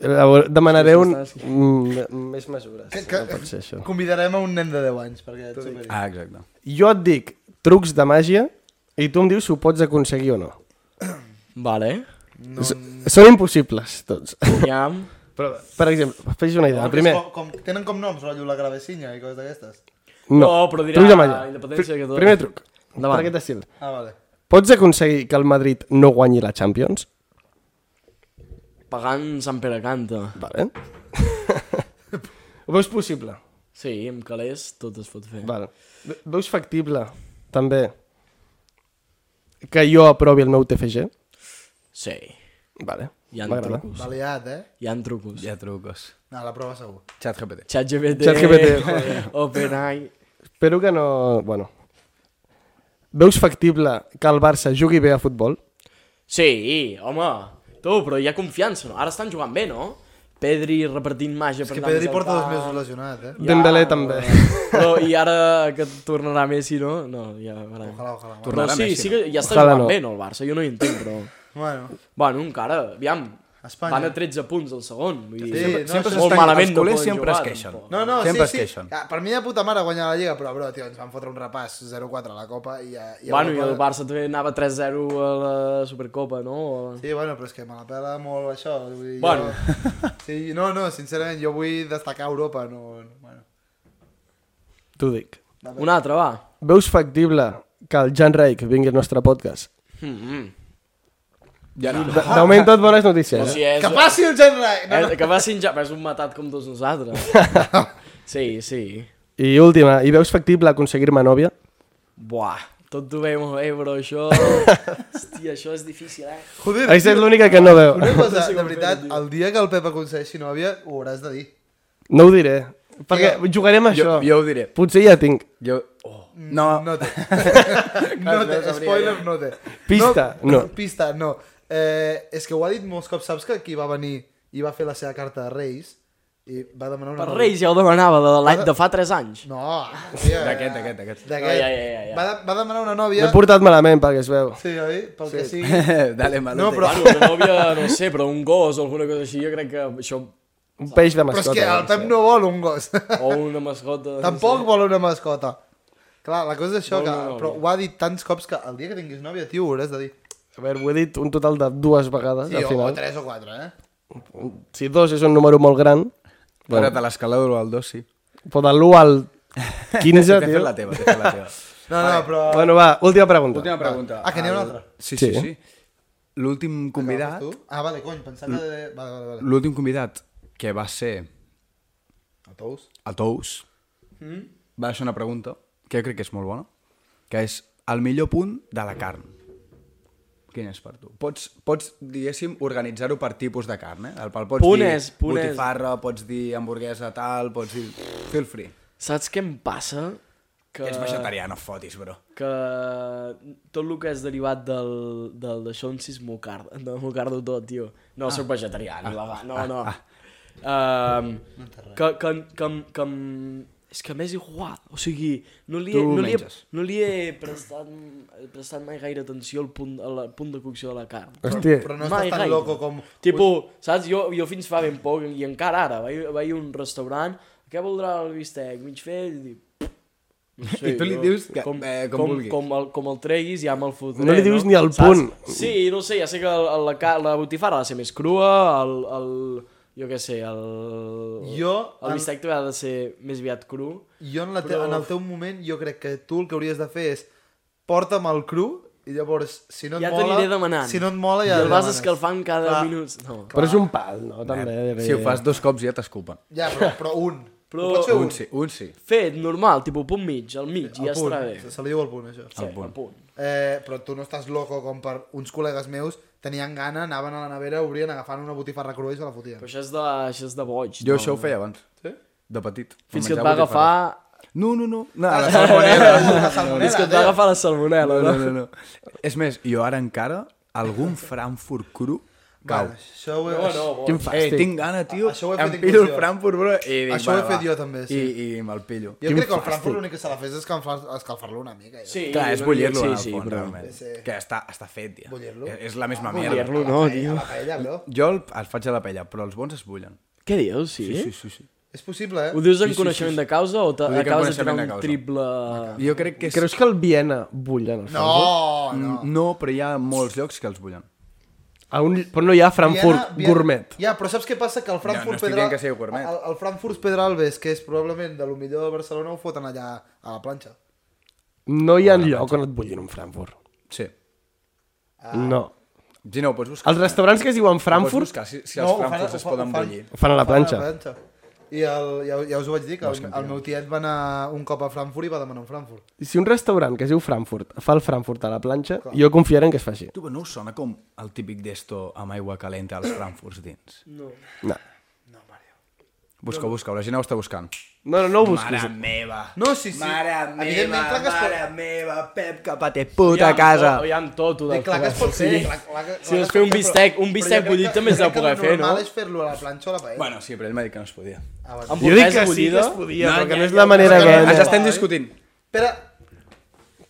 E: Llavors, Demanaré un... mm, més mesures. No pot ser això.
A: Convidarem a un nen de 10 anys, perquè et superi.
C: Ah, exacte.
E: Jo et dic trucs de màgia i tu em dius si ho pots aconseguir o no.
D: Vale.
E: No. Són impossibles, tots.
D: Aviam.
E: Però, per exemple, fes una idea. Ah, El primer,
A: Com, com, tenen com noms, rotllo la gravecinya i coses d'aquestes.
E: no.
D: No, però dirà
E: Trucs de màgia.
D: independència
E: Pri-
D: que tot.
E: Primer truc.
D: Endavant.
E: Per aquest estil.
A: Ah, vale.
E: Pots aconseguir que el Madrid no guanyi la Champions?
D: Pagant Sant Pere Canta.
E: Vale. [LAUGHS] Ho veus possible?
D: Sí, amb calés tot es pot fer.
E: Vale. Ve- Veus factible, també, que jo aprovi el meu TFG?
D: Sí.
E: Vale.
D: Hi ha
E: M'agrada.
D: trucos.
A: Baleat, eh?
D: Hi ha trucos.
C: Ja trucos.
A: No, la prova segur.
C: Chat GPT.
D: Chat GPT.
E: Chat
D: [LAUGHS]
E: GPT, joder.
D: OpenAI.
E: Espero que no... Bueno. Veus factible que el Barça jugui bé a futbol?
D: Sí, home. Tu, però hi ha confiança, no? Ara estan jugant bé, no? Pedri repartint màgia
A: És
D: per
A: que
D: anar
A: Pedri
D: més al
A: porta dos
D: camp.
A: mesos lesionat, eh?
E: Dembélé també.
D: [LAUGHS] Però, I ara que tornarà Messi, no? No, ja... Ara...
A: Ojalà, ojalà.
D: Però
C: Tornarà
D: sí,
C: Messi,
D: sí que ja està
E: Ojalà
D: jugant
E: no.
D: bé, no, el Barça? Jo no hi entenc, però...
A: Bueno,
D: Bueno, encara, aviam,
A: Espanya.
D: van a 13 punts al segon. Vull dir,
A: Sí, no,
D: sempre
A: sí.
D: molt
C: Els
D: malament no
C: culers
D: poden
C: sempre
D: jugar,
C: es queixen.
D: tampoc.
A: No, no,
C: Sempre es
A: sí, sí.
C: queixen.
A: Ah, Per mi de puta mare guanyar la Lliga, però, bro, tio, ens van fotre un repàs 0-4 a la Copa i... A, i a
D: Bueno, i el
A: Europa-
D: Barça també anava 3-0 a la Supercopa, no? O-
A: Sí, bueno, però és que me la pela molt això. Vull dir,
D: Bueno. [LAUGHS]
A: Jo... Sí, no, no, sincerament, jo vull destacar Europa, no... no bueno.
E: T'ho dic.
D: Un altre, va.
E: Veus factible que el Jan Reich vingui al nostre podcast?
C: Ja no.
E: De, de moment tot bones notícies. eh?
D: Però si és,
A: Que passi el Gen Rai! No, no.
D: eh, que va sinjar, és un matat com tots
A: [LAUGHS]
D: nosaltres. sí, sí.
E: I última, i veus factible aconseguir-me nòvia?
D: Buah, tot ho veiem molt bé, però
A: [LAUGHS]
D: això... Hòstia, això és difícil, eh?
A: Joder,
E: Aquesta és l'única que no veu.
A: una cosa, de veritat, el dia que el Pep aconsegueixi nòvia, ho hauràs de dir.
E: No ho diré, perquè jugarem a això.
C: Jo, jo ho diré.
E: Potser ja tinc.
C: Jo... Oh. No,
A: No té. no té, spoiler, no té.
E: Pista, no.
A: Pista, no. Eh, és que ho ha dit molts cops, saps que aquí va venir i va fer la seva carta de Reis i va demanar una
D: Per
A: nòvia?
D: Reis ja ho demanava, de l'any de fa 3 anys.
A: No, hòstia.
C: D'aquest, d'aquest, d'aquest.
A: D'aquest.
D: Oh, Ja, ja, ja, ja.
A: Va, de- va demanar una
E: L'he
A: nòvia...
E: portat malament perquè es veu.
A: Sí, oi? Pel que sigui.
C: [LAUGHS] Dale, malote.
A: No, però-
D: Bueno, una nòvia, no sé, però un gos o alguna cosa així, jo crec que això...
E: Un peix de
A: Però és
E: mascota.
A: que el Pep no vol un
D: [LAUGHS]
A: gos.
D: O una mascota...
A: Tampoc vol una mascota. Clar, la cosa és això,
D: Vol
A: que,
D: una nòvia.
A: però ho ha dit tants cops que el dia que tinguis nòvia, tio, ho hauràs de dir.
E: A veure, ho he dit un total de dues vegades,
A: Sí,
E: al
A: o, o
E: final.
A: tres o quatre, eh?
E: Si dos és un número molt gran,
C: Bueno. Ara, de l'escala de l'1 al 2, sí.
E: però de l'1 al 15,
C: [LAUGHS] T'he fet
E: tio...
C: la teva, t'he fet la teva.
A: No, no, però...
E: Bueno, va, última pregunta.
C: [LAUGHS] Última pregunta.
A: Ah, que n'hi ha una altra.
C: Sí, sí,
E: Sí.
C: sí. L'últim convidat,
A: Tu? Ah, vale, cony, pensava que... Vale, vale, vale.
C: l'últim convidat que va ser
A: A tous?
C: a Tous, Mm. va deixar una pregunta que jo crec que és molt bona, que és el millor punt de la carn. Quin és per tu? Pots, pots diguéssim, organitzar-ho per tipus de carn, eh? El pal pots
D: Punt
C: dir
D: és, punt és.
C: botifarra, pots dir hamburguesa tal, pots dir... Feel free.
D: Saps què em passa? Que...
C: Que... Ets vegetarià, no fotis, bro.
D: que tot el que és derivat del, del d'això en sis mocard, no, mocardo tot, tio. No, ah. soc vegetarià, ni vegà, no, no. Ah. Um, que, que, que, que, em- és que m'és igual, o sigui, no li, he,
C: Tu
D: no, li he,
C: menges.
D: no li he prestat, prestat mai gaire atenció al punt, al punt de cocció de la carn.
E: Hòstia,
A: Però no estàs tan
D: gaire.
A: loco com...
D: Tipo, saps, jo, jo fins fa ben poc, i encara ara, vaig, vaig a un restaurant, què voldrà el bistec? Mig fell? I, dic, no sé,
C: [LAUGHS] I tu li
D: jo,
C: dius que- eh, com
D: com,
C: vulguis.
D: com, el, com el treguis ja me'l fotré.
E: No li dius ni al punt.
D: Sí, no ho sé, ja sé que el, el, la, ca- la botifarra ha de ser més crua, el, el jo què sé, el...
A: Jo,
D: El
A: en-
D: bistec també ha de ser més aviat cru.
A: Jo en, la te... en el teu moment, jo crec que tu el que hauries de fer és porta'm el cru i llavors, si no et
D: ja
A: mola...
D: t'aniré demanant.
A: Si no et mola, ja
D: I el vas
A: demanes.
D: escalfant cada Clar. minuts. No.
E: però és un pal, no? També, de
C: Si ho fas dos cops ja t'escupen.
A: Ja, però, però un.
D: [LAUGHS] Però-
A: Ho pots fer
C: Un
A: un.
C: sí, un sí.
D: Fet, normal, tipus punt mig, al mig, i
A: Al
D: ja
A: punt.
D: estarà bé.
A: Se, se li diu el punt, això.
D: Sí, al punt. punt.
A: Eh, però tu no estàs loco com per uns col·legues meus tenien gana, anaven a la nevera, obrien, agafaven una botifarra crua i se la fotien.
D: Però això és de, això és de boig.
C: Jo
D: no?
C: això ho feia abans. Sí? De petit.
D: Fins
C: Em
D: que et va
C: menjava
D: agafar...
C: botifarres. No, no, no.
A: [LAUGHS]
C: no, la
A: La
D: [LAUGHS] Fins
A: salmonella,
D: que et va agafar la salmonella,
C: No,
D: no?
C: no, no, no. És més, jo ara encara, algun Frankfurt cru cau.
A: Vale, això ho he...
D: No, no, bo.
E: Quin
C: eh,
E: fàstic.
C: tinc gana, tio.
A: Això ho he fet
C: em pillo el
A: inclusió.
C: Frankfurt, bro, i dic,
A: Això ho he
C: "Va,
A: fet
C: va".
A: jo també, sí.
C: I, i me'l pillo.
A: Jo crec que el Frankfurt l'únic que se la fes és escalfar- escalfar-lo una mica. Ja.
D: Sí,
C: Clar, és
D: no,
C: bullir-lo
D: sí,
C: en el
D: sí,
C: fons,
D: però-
C: realment.
A: Sí, sí.
C: Que està, està fet, ja.
A: Bullir-lo?
C: És la
A: Ah,
C: misma
A: bullir-lo,
C: mierda.
D: no,
A: A la paella,
D: tio.
A: a La paella, no?
C: Jo el, el faig a la paella, però els bons es bullen.
D: Què dius, sí?
C: Sí, sí, sí.
A: És possible, eh?
D: Ho dius en coneixement de causa o
C: Ho dic en
D: t'acabes
C: coneixement
D: de tirar
C: de
D: un
C: causa.
D: triple...
C: Jo crec que és...
E: Creus que el Viena bull en el
A: No,
E: Frankfurt?
A: no.
C: No, però hi ha molts llocs que els bullen.
E: A un... Però no hi ha Frankfurt
A: Viena-
E: gourmet.
A: Ja, però saps què passa? Que el
C: No,
A: Frankfurt
C: no estic
A: Pedral...
C: dient que sigui gourmet.
A: El, el Frankfurt Pedralbes, que és probablement de lo millor de Barcelona, ho foten allà a la planxa.
E: No hi ha lloc on et bullin un Frankfurt.
C: Sí.
E: No.
C: Si no, ho pots buscar.
E: Els restaurants que es diuen
C: Ho pots
E: Frankfurt
C: buscar, si, si els
A: No, ho
C: no,
A: fan-
C: Frankfurts
A: ho
C: es
A: fan- ho
C: poden
A: fan-
C: bullir.
E: ho fan a la
A: A
E: planxa.
A: la planxa. I el, ja, ja us ho vaig dir, que el, el meu tiet va anar un cop a Frankfurt i va demanar un Frankfurt.
E: Si un restaurant que es diu Frankfurt fa el Frankfurt a la planxa, jo confiaré en que es faci.
C: Tu, però no us sona com el típic d'esto amb aigua calenta als Frankfurts dins?
E: No.
C: Busca, busca, la gent ho està buscant.
E: No, no, no ho busquis.
C: meva.
A: No, sí, sí.
C: Mare meva,
A: Evidentment, clar que es pot-
C: mare meva, Pep, capa té puta casa.
D: Ja amb tot, ho
A: Sí,
D: del
A: clar que es pot fer.
D: sí.
A: Clar, clar, que-
D: Si
A: clar
D: vols
A: que
D: fer un
A: es pot
D: bistec, un
A: però
D: bistec
A: jo crec
D: bullit
A: que-
D: també es deu
A: crec que
D: poder
A: el
D: fer, no?
A: normal és fer-lo a la planxa o a la paella.
C: Bueno, sí, però ell m'ha dit que no es podia.
A: Ah, vale.
D: Amb
E: Jo dic que sí que
D: bullida?
E: es podia,
C: No,
E: però que
C: ja,
E: no és
C: ja,
E: la manera
A: ja, ja,
E: que...
A: ja,
C: Ens
A: ja.
C: estem discutint.
A: Espera,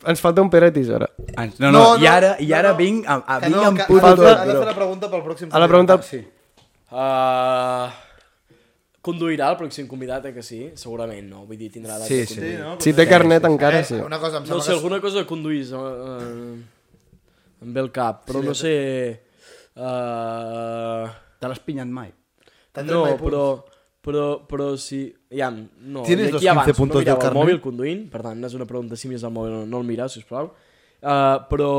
E: Ens falta un Peret i Zora.
C: No, no, i ara, i ara vinc, a, a,
A: que
C: vinc
A: no,
C: amb
A: que-
C: puto
A: ha de fer-
C: tot,
A: Ha de fer
C: bro.
A: la pregunta pel pròxim.
E: A la pregunta...
C: Sí.
D: Uh, conduirà el pròxim convidat, eh, que sí? Segurament no, vull dir, tindrà edat
C: Sí,
D: de
C: sí.
D: conduir.
A: no?
E: Si té carnet encara,
A: Eh,
E: sí.
A: Una cosa, em
D: No
A: sembla
D: sé,
A: que...
D: alguna cosa de conduir eh, eh, em ve el cap, però no sé... Uh,
C: Te l'has pinyat mai?
A: T'ha tret
D: no,
A: mai punts.
D: però, però, però si... Ja, no,
A: Tienes
D: i
A: los 15
D: aquí abans,
A: puntos
D: no
A: del
D: mirava el
A: carnet.
D: mòbil conduint, per tant, és una pregunta si mires el mòbil o no, no el mirar, sisplau. Uh, però,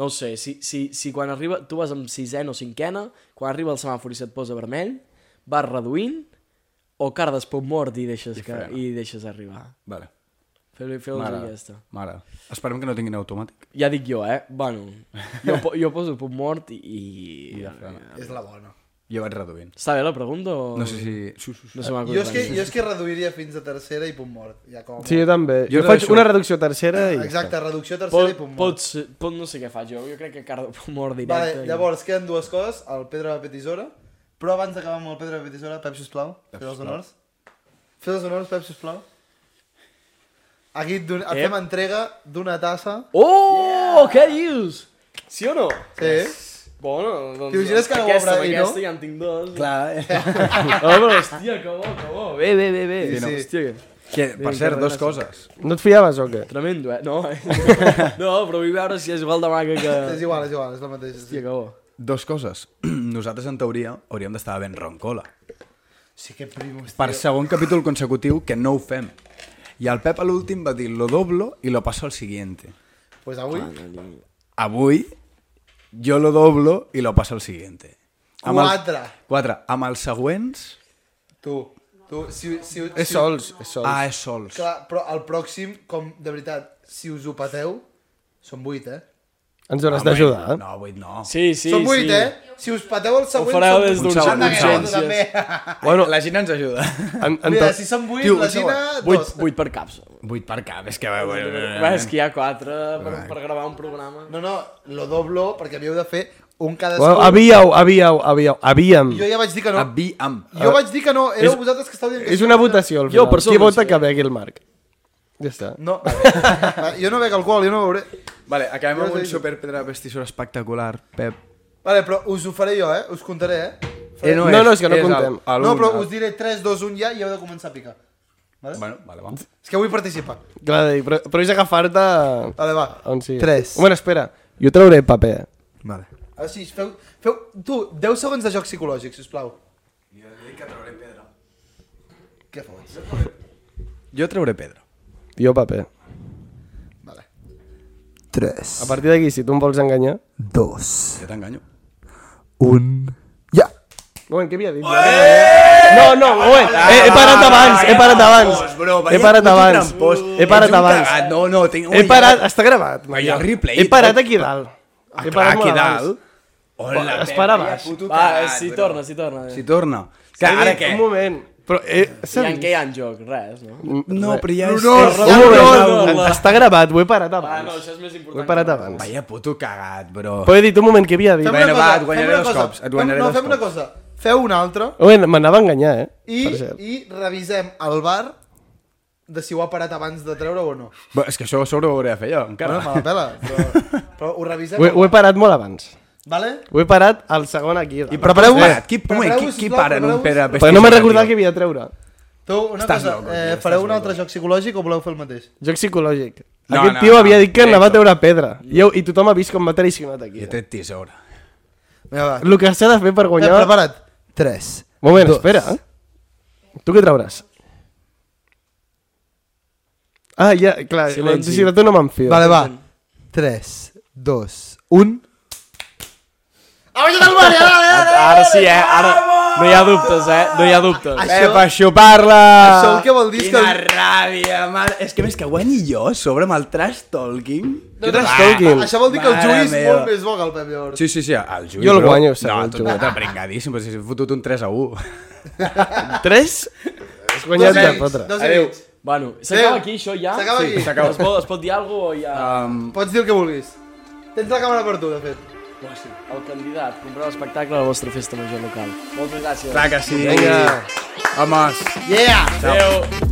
D: no ho sé, si, si, si quan arriba... Tu vas amb sisena o cinquena, quan arriba el semàfor i se't posa vermell, vas reduint o cardes pot mort i deixes, que,
C: frena.
D: i deixes arribar.
C: Vale.
D: Feu-li feu
C: M'agrada.
D: aquesta.
C: Mare. Esperem que no tinguin automàtic.
D: Ja dic jo, eh? Bueno, jo, po- jo poso punt mort i... i...
A: És la bona.
C: Jo vaig reduint.
D: Està bé la pregunta o...?
C: No sé si... Sí, sí, sí.
D: No se m'ha
A: Jo és, que,
D: acudit res.
A: jo és que reduiria fins a tercera i punt mort. Ja com...
E: Sí, jo també.
C: Jo
E: Jo, faig
C: deixo-
E: una reducció tercera i...
A: Exacte, reducció a tercera
D: Pot,
A: i punt mort.
D: pots, pot, no sé què faig jo, jo crec que cardo punt mort directe.
A: Vale, llavors queden dues coses, el Pedra de Petisora, però abans d'acabar amb el Pedra de Petisora, Pep, sisplau, fes els honors. Fes els honors, Pep, sisplau. Aquí et, don- et fem entrega d'una tassa.
D: Oh, què dius? Sí o no?
A: Sí.
D: Bueno, doncs...
A: T'imagines que no ho obre
D: aquesta, amb
A: i no?
D: aquesta ja en tinc dos.
C: Clar, eh?
D: Oh, però hòstia, que bo, que bo. Bé, bé, bé, bé.
A: Sí, no.
D: Hòstia,
C: Que, per cert, dos coses.
E: No et fiaves o què?
D: tremendo, eh?
A: [LAUGHS]
D: No, eh? no, però vull veure si és igual de maca que...
A: És igual, és igual, és la mateixa. Sí,
D: Hòstia, que bo.
C: Dos coses. [CLEARS THROAT] Nosaltres, en teoria, hauríem d'estar ben roncola.
A: sí que primo. hòstia.
C: Per segon capítol consecutiu, que no ho fem. I el Pep a l'últim va dir, lo doblo i lo paso al siguiente.
A: Pues avui,
C: Avui, jo lo doblo i lo paso al siguiente.
A: Quatre.
C: El, quatre. Amb els següents...
A: tu, tu, si, si, si,
E: És sols, és sols.
C: Ah, és sols.
A: Clar, però el pròxim, com de veritat, si us ho pateu, són vuit, eh?
E: Ens hauràs d'ajudar, eh?
C: No, vuit no.
D: Sí, sí,
A: són vuit,
D: sí.
A: eh? Si us pateu el següent,
D: fareu
A: són
D: des
A: vuit.
D: d'un
A: Són
C: segon,
A: de
C: un
A: guerra,
D: segon.
A: tu també.
C: Bueno, la Gina ens ajuda.
E: En, en
A: Mira,
E: tot-
A: si són vuit,
C: Tio,
A: la
C: un segon.
A: Gina,
D: Vuit,
A: dos.
D: vuit per caps.
C: Vuit per cap, és que... Eh, Va,
D: Va, és que hi ha quatre per, per gravar un programa.
A: No, no, lo doblo perquè havíeu de fer un cadascun.
E: Bueno, havíeu, havíeu, havíeu, havíem.
A: Jo ja vaig dir que no.
C: Avi amb...
A: Jo vaig dir que no, éreu
E: És-
A: vosaltres que estàveu dient que
E: És
A: sí.
E: una votació, al
D: Jo,
E: final.
D: per sobre,
E: Qui vota
D: sí.
E: que begui el Marc? Ja està.
A: No, va, [LAUGHS] jo no bec alcohol, jo no beuré.
C: Vale, acabem
A: Jo
C: amb
A: sé
C: un
A: que-
C: superpedra vestissor espectacular, Pep.
A: Vale, però us ho faré jo, eh? Us contaré, eh? Faré-
E: no No, no, és que no contem.
C: el-
A: no, però
C: el-
A: us diré 3, 2, 1 ja i heu de començar a picar.
C: Bueno, vale, va.
A: És que vull participar.
E: Clar, de dir, però, però és agafar-te...
A: Vale, va.
E: On sigui.
A: Tres.
E: Bueno, espera. Jo trauré paper.
C: Vale.
A: Ara sí, feu, feu... Tu, 10 segons de joc psicològic, sisplau. Jo dic que trauré pedra. Què fas?
C: Jo trauré pedra.
E: Jo paper.
A: Vale.
E: A partir d'aquí, si tu em vols enganyar...
C: Jo t'enganyo.
E: Un moment, què havia dit? No, no, un moment. He,
C: Eh,
E: he parat abans, he parat abans. He parat abans. He parat abans.
C: No, no, tinc...
E: He parat... Està gravat.
C: Ui, el replay. eh?
E: He parat aquí dalt.
C: Ah,
E: He
C: clar,
E: parat
C: aquí
E: molt abans.
C: dalt. Hola,
E: Es para baix.
D: Va, si torna, si torna.
C: Si torna. Clar,
E: He
C: ara
E: dit,
C: què?
E: Un moment. Però, eh,
D: I en
E: saps?
D: què hi ha en joc? Res, no?
C: No, però ja és...
A: L'honor,
C: és
E: Un
C: roba.
E: moment,
D: no, no, no.
E: Està gravat, ho he parat
D: Ah, no,
E: abans.
D: això és més
E: Ho
D: important.
E: he parat abans.
C: Vaya puto cagat, bro.
E: Però he dit un moment que havia dit.
A: Fem una
C: Bueno, va,
A: cosa,
C: et guanyaré
A: fem una
C: dos
A: cosa.
C: cops, et guanyaré
A: Fem-
C: dos
A: No, fem una
C: cops.
A: cosa. Feu una altra
E: Un moment, m'anava a enganyar, eh?
A: i,
E: Per cert.
A: i revisem el bar de si ho ha parat abans de treure o no.
C: Però és que això a sobre ho hauré de fer jo,
A: Bueno, me
C: [LAUGHS] encara.
A: la pela, però, però ho revisem.
E: Ho, he- ho he parat molt abans.
A: Vale?
E: Ho he parat al segon aquí. I
C: Prepareu-vos.
A: Eh,
C: Qui, un moment, qui,
A: prepareu-vos,
C: qui
A: sisplau,
C: para en un
A: prepareu-vos.
C: Pere Pestis?
E: Però no me'n recordava que havia de treure.
A: Tu, una
C: Estàs
A: cosa,
C: loco, tio,
A: eh,
C: estàs
A: fareu un
C: loco.
A: altre joc psicològic o voleu fer el mateix?
E: Joc psicològic.
C: No,
E: Aquest
C: no,
E: tio
C: no,
E: havia dit que
C: directo.
E: anava a treure pedra. I, heu, i tothom ha vist com m'ha traicionat aquí.
C: He tret tisora.
A: Vinga, va.
E: El que s'ha de fer per
A: Eh,
E: guanyar...
A: prepara't. 3.
E: Moment, espera. eh. Tu què trauràs? Ah, ja, clar,
D: Silenci.
E: Silenci. si de tu no me'n fio.
A: Vale, va. 3, 2, 1.
D: Ara sí, eh? Ara no hi ha dubtes, eh? No hi ha dubtes.
A: Això-
C: Pep, això parla!
A: Això el que vol dir és
C: Quina
A: que-
C: ràbia, mare... És que més que guanyi jo sobre amb el trash talking...
E: Jo
C: Ah.
E: trash talking.
A: Això vol dir que el
C: Mare
A: Juli és
C: meva.
A: molt més bo que el Pep, llavors.
C: Sí, sí, sí, el Juli,
E: Jo el
C: bro.
E: guanyo, segur,
C: No,
E: el
C: tu
E: Juli.
C: t'ha pringadíssim, però si he fotut un 3 a 1.
E: 3? Has guanyat de fotre.
A: Dos i
B: Adéu.
A: mig.
D: Bueno, s'acaba
A: Adéu.
D: aquí això ja?
A: S'acaba Sí, aquí. s'acaba.
D: Es pot, es pot dir alguna cosa o ja...
C: Um,
A: Pots dir el que vulguis. Tens la càmera per tu, de fet.
D: No, sí. El candidat, compreu l'espectacle a la vostra festa major local. Moltes gràcies.
C: Clar que sí.
E: Vinga.
C: Homes.
A: Yeah!
D: Adéu.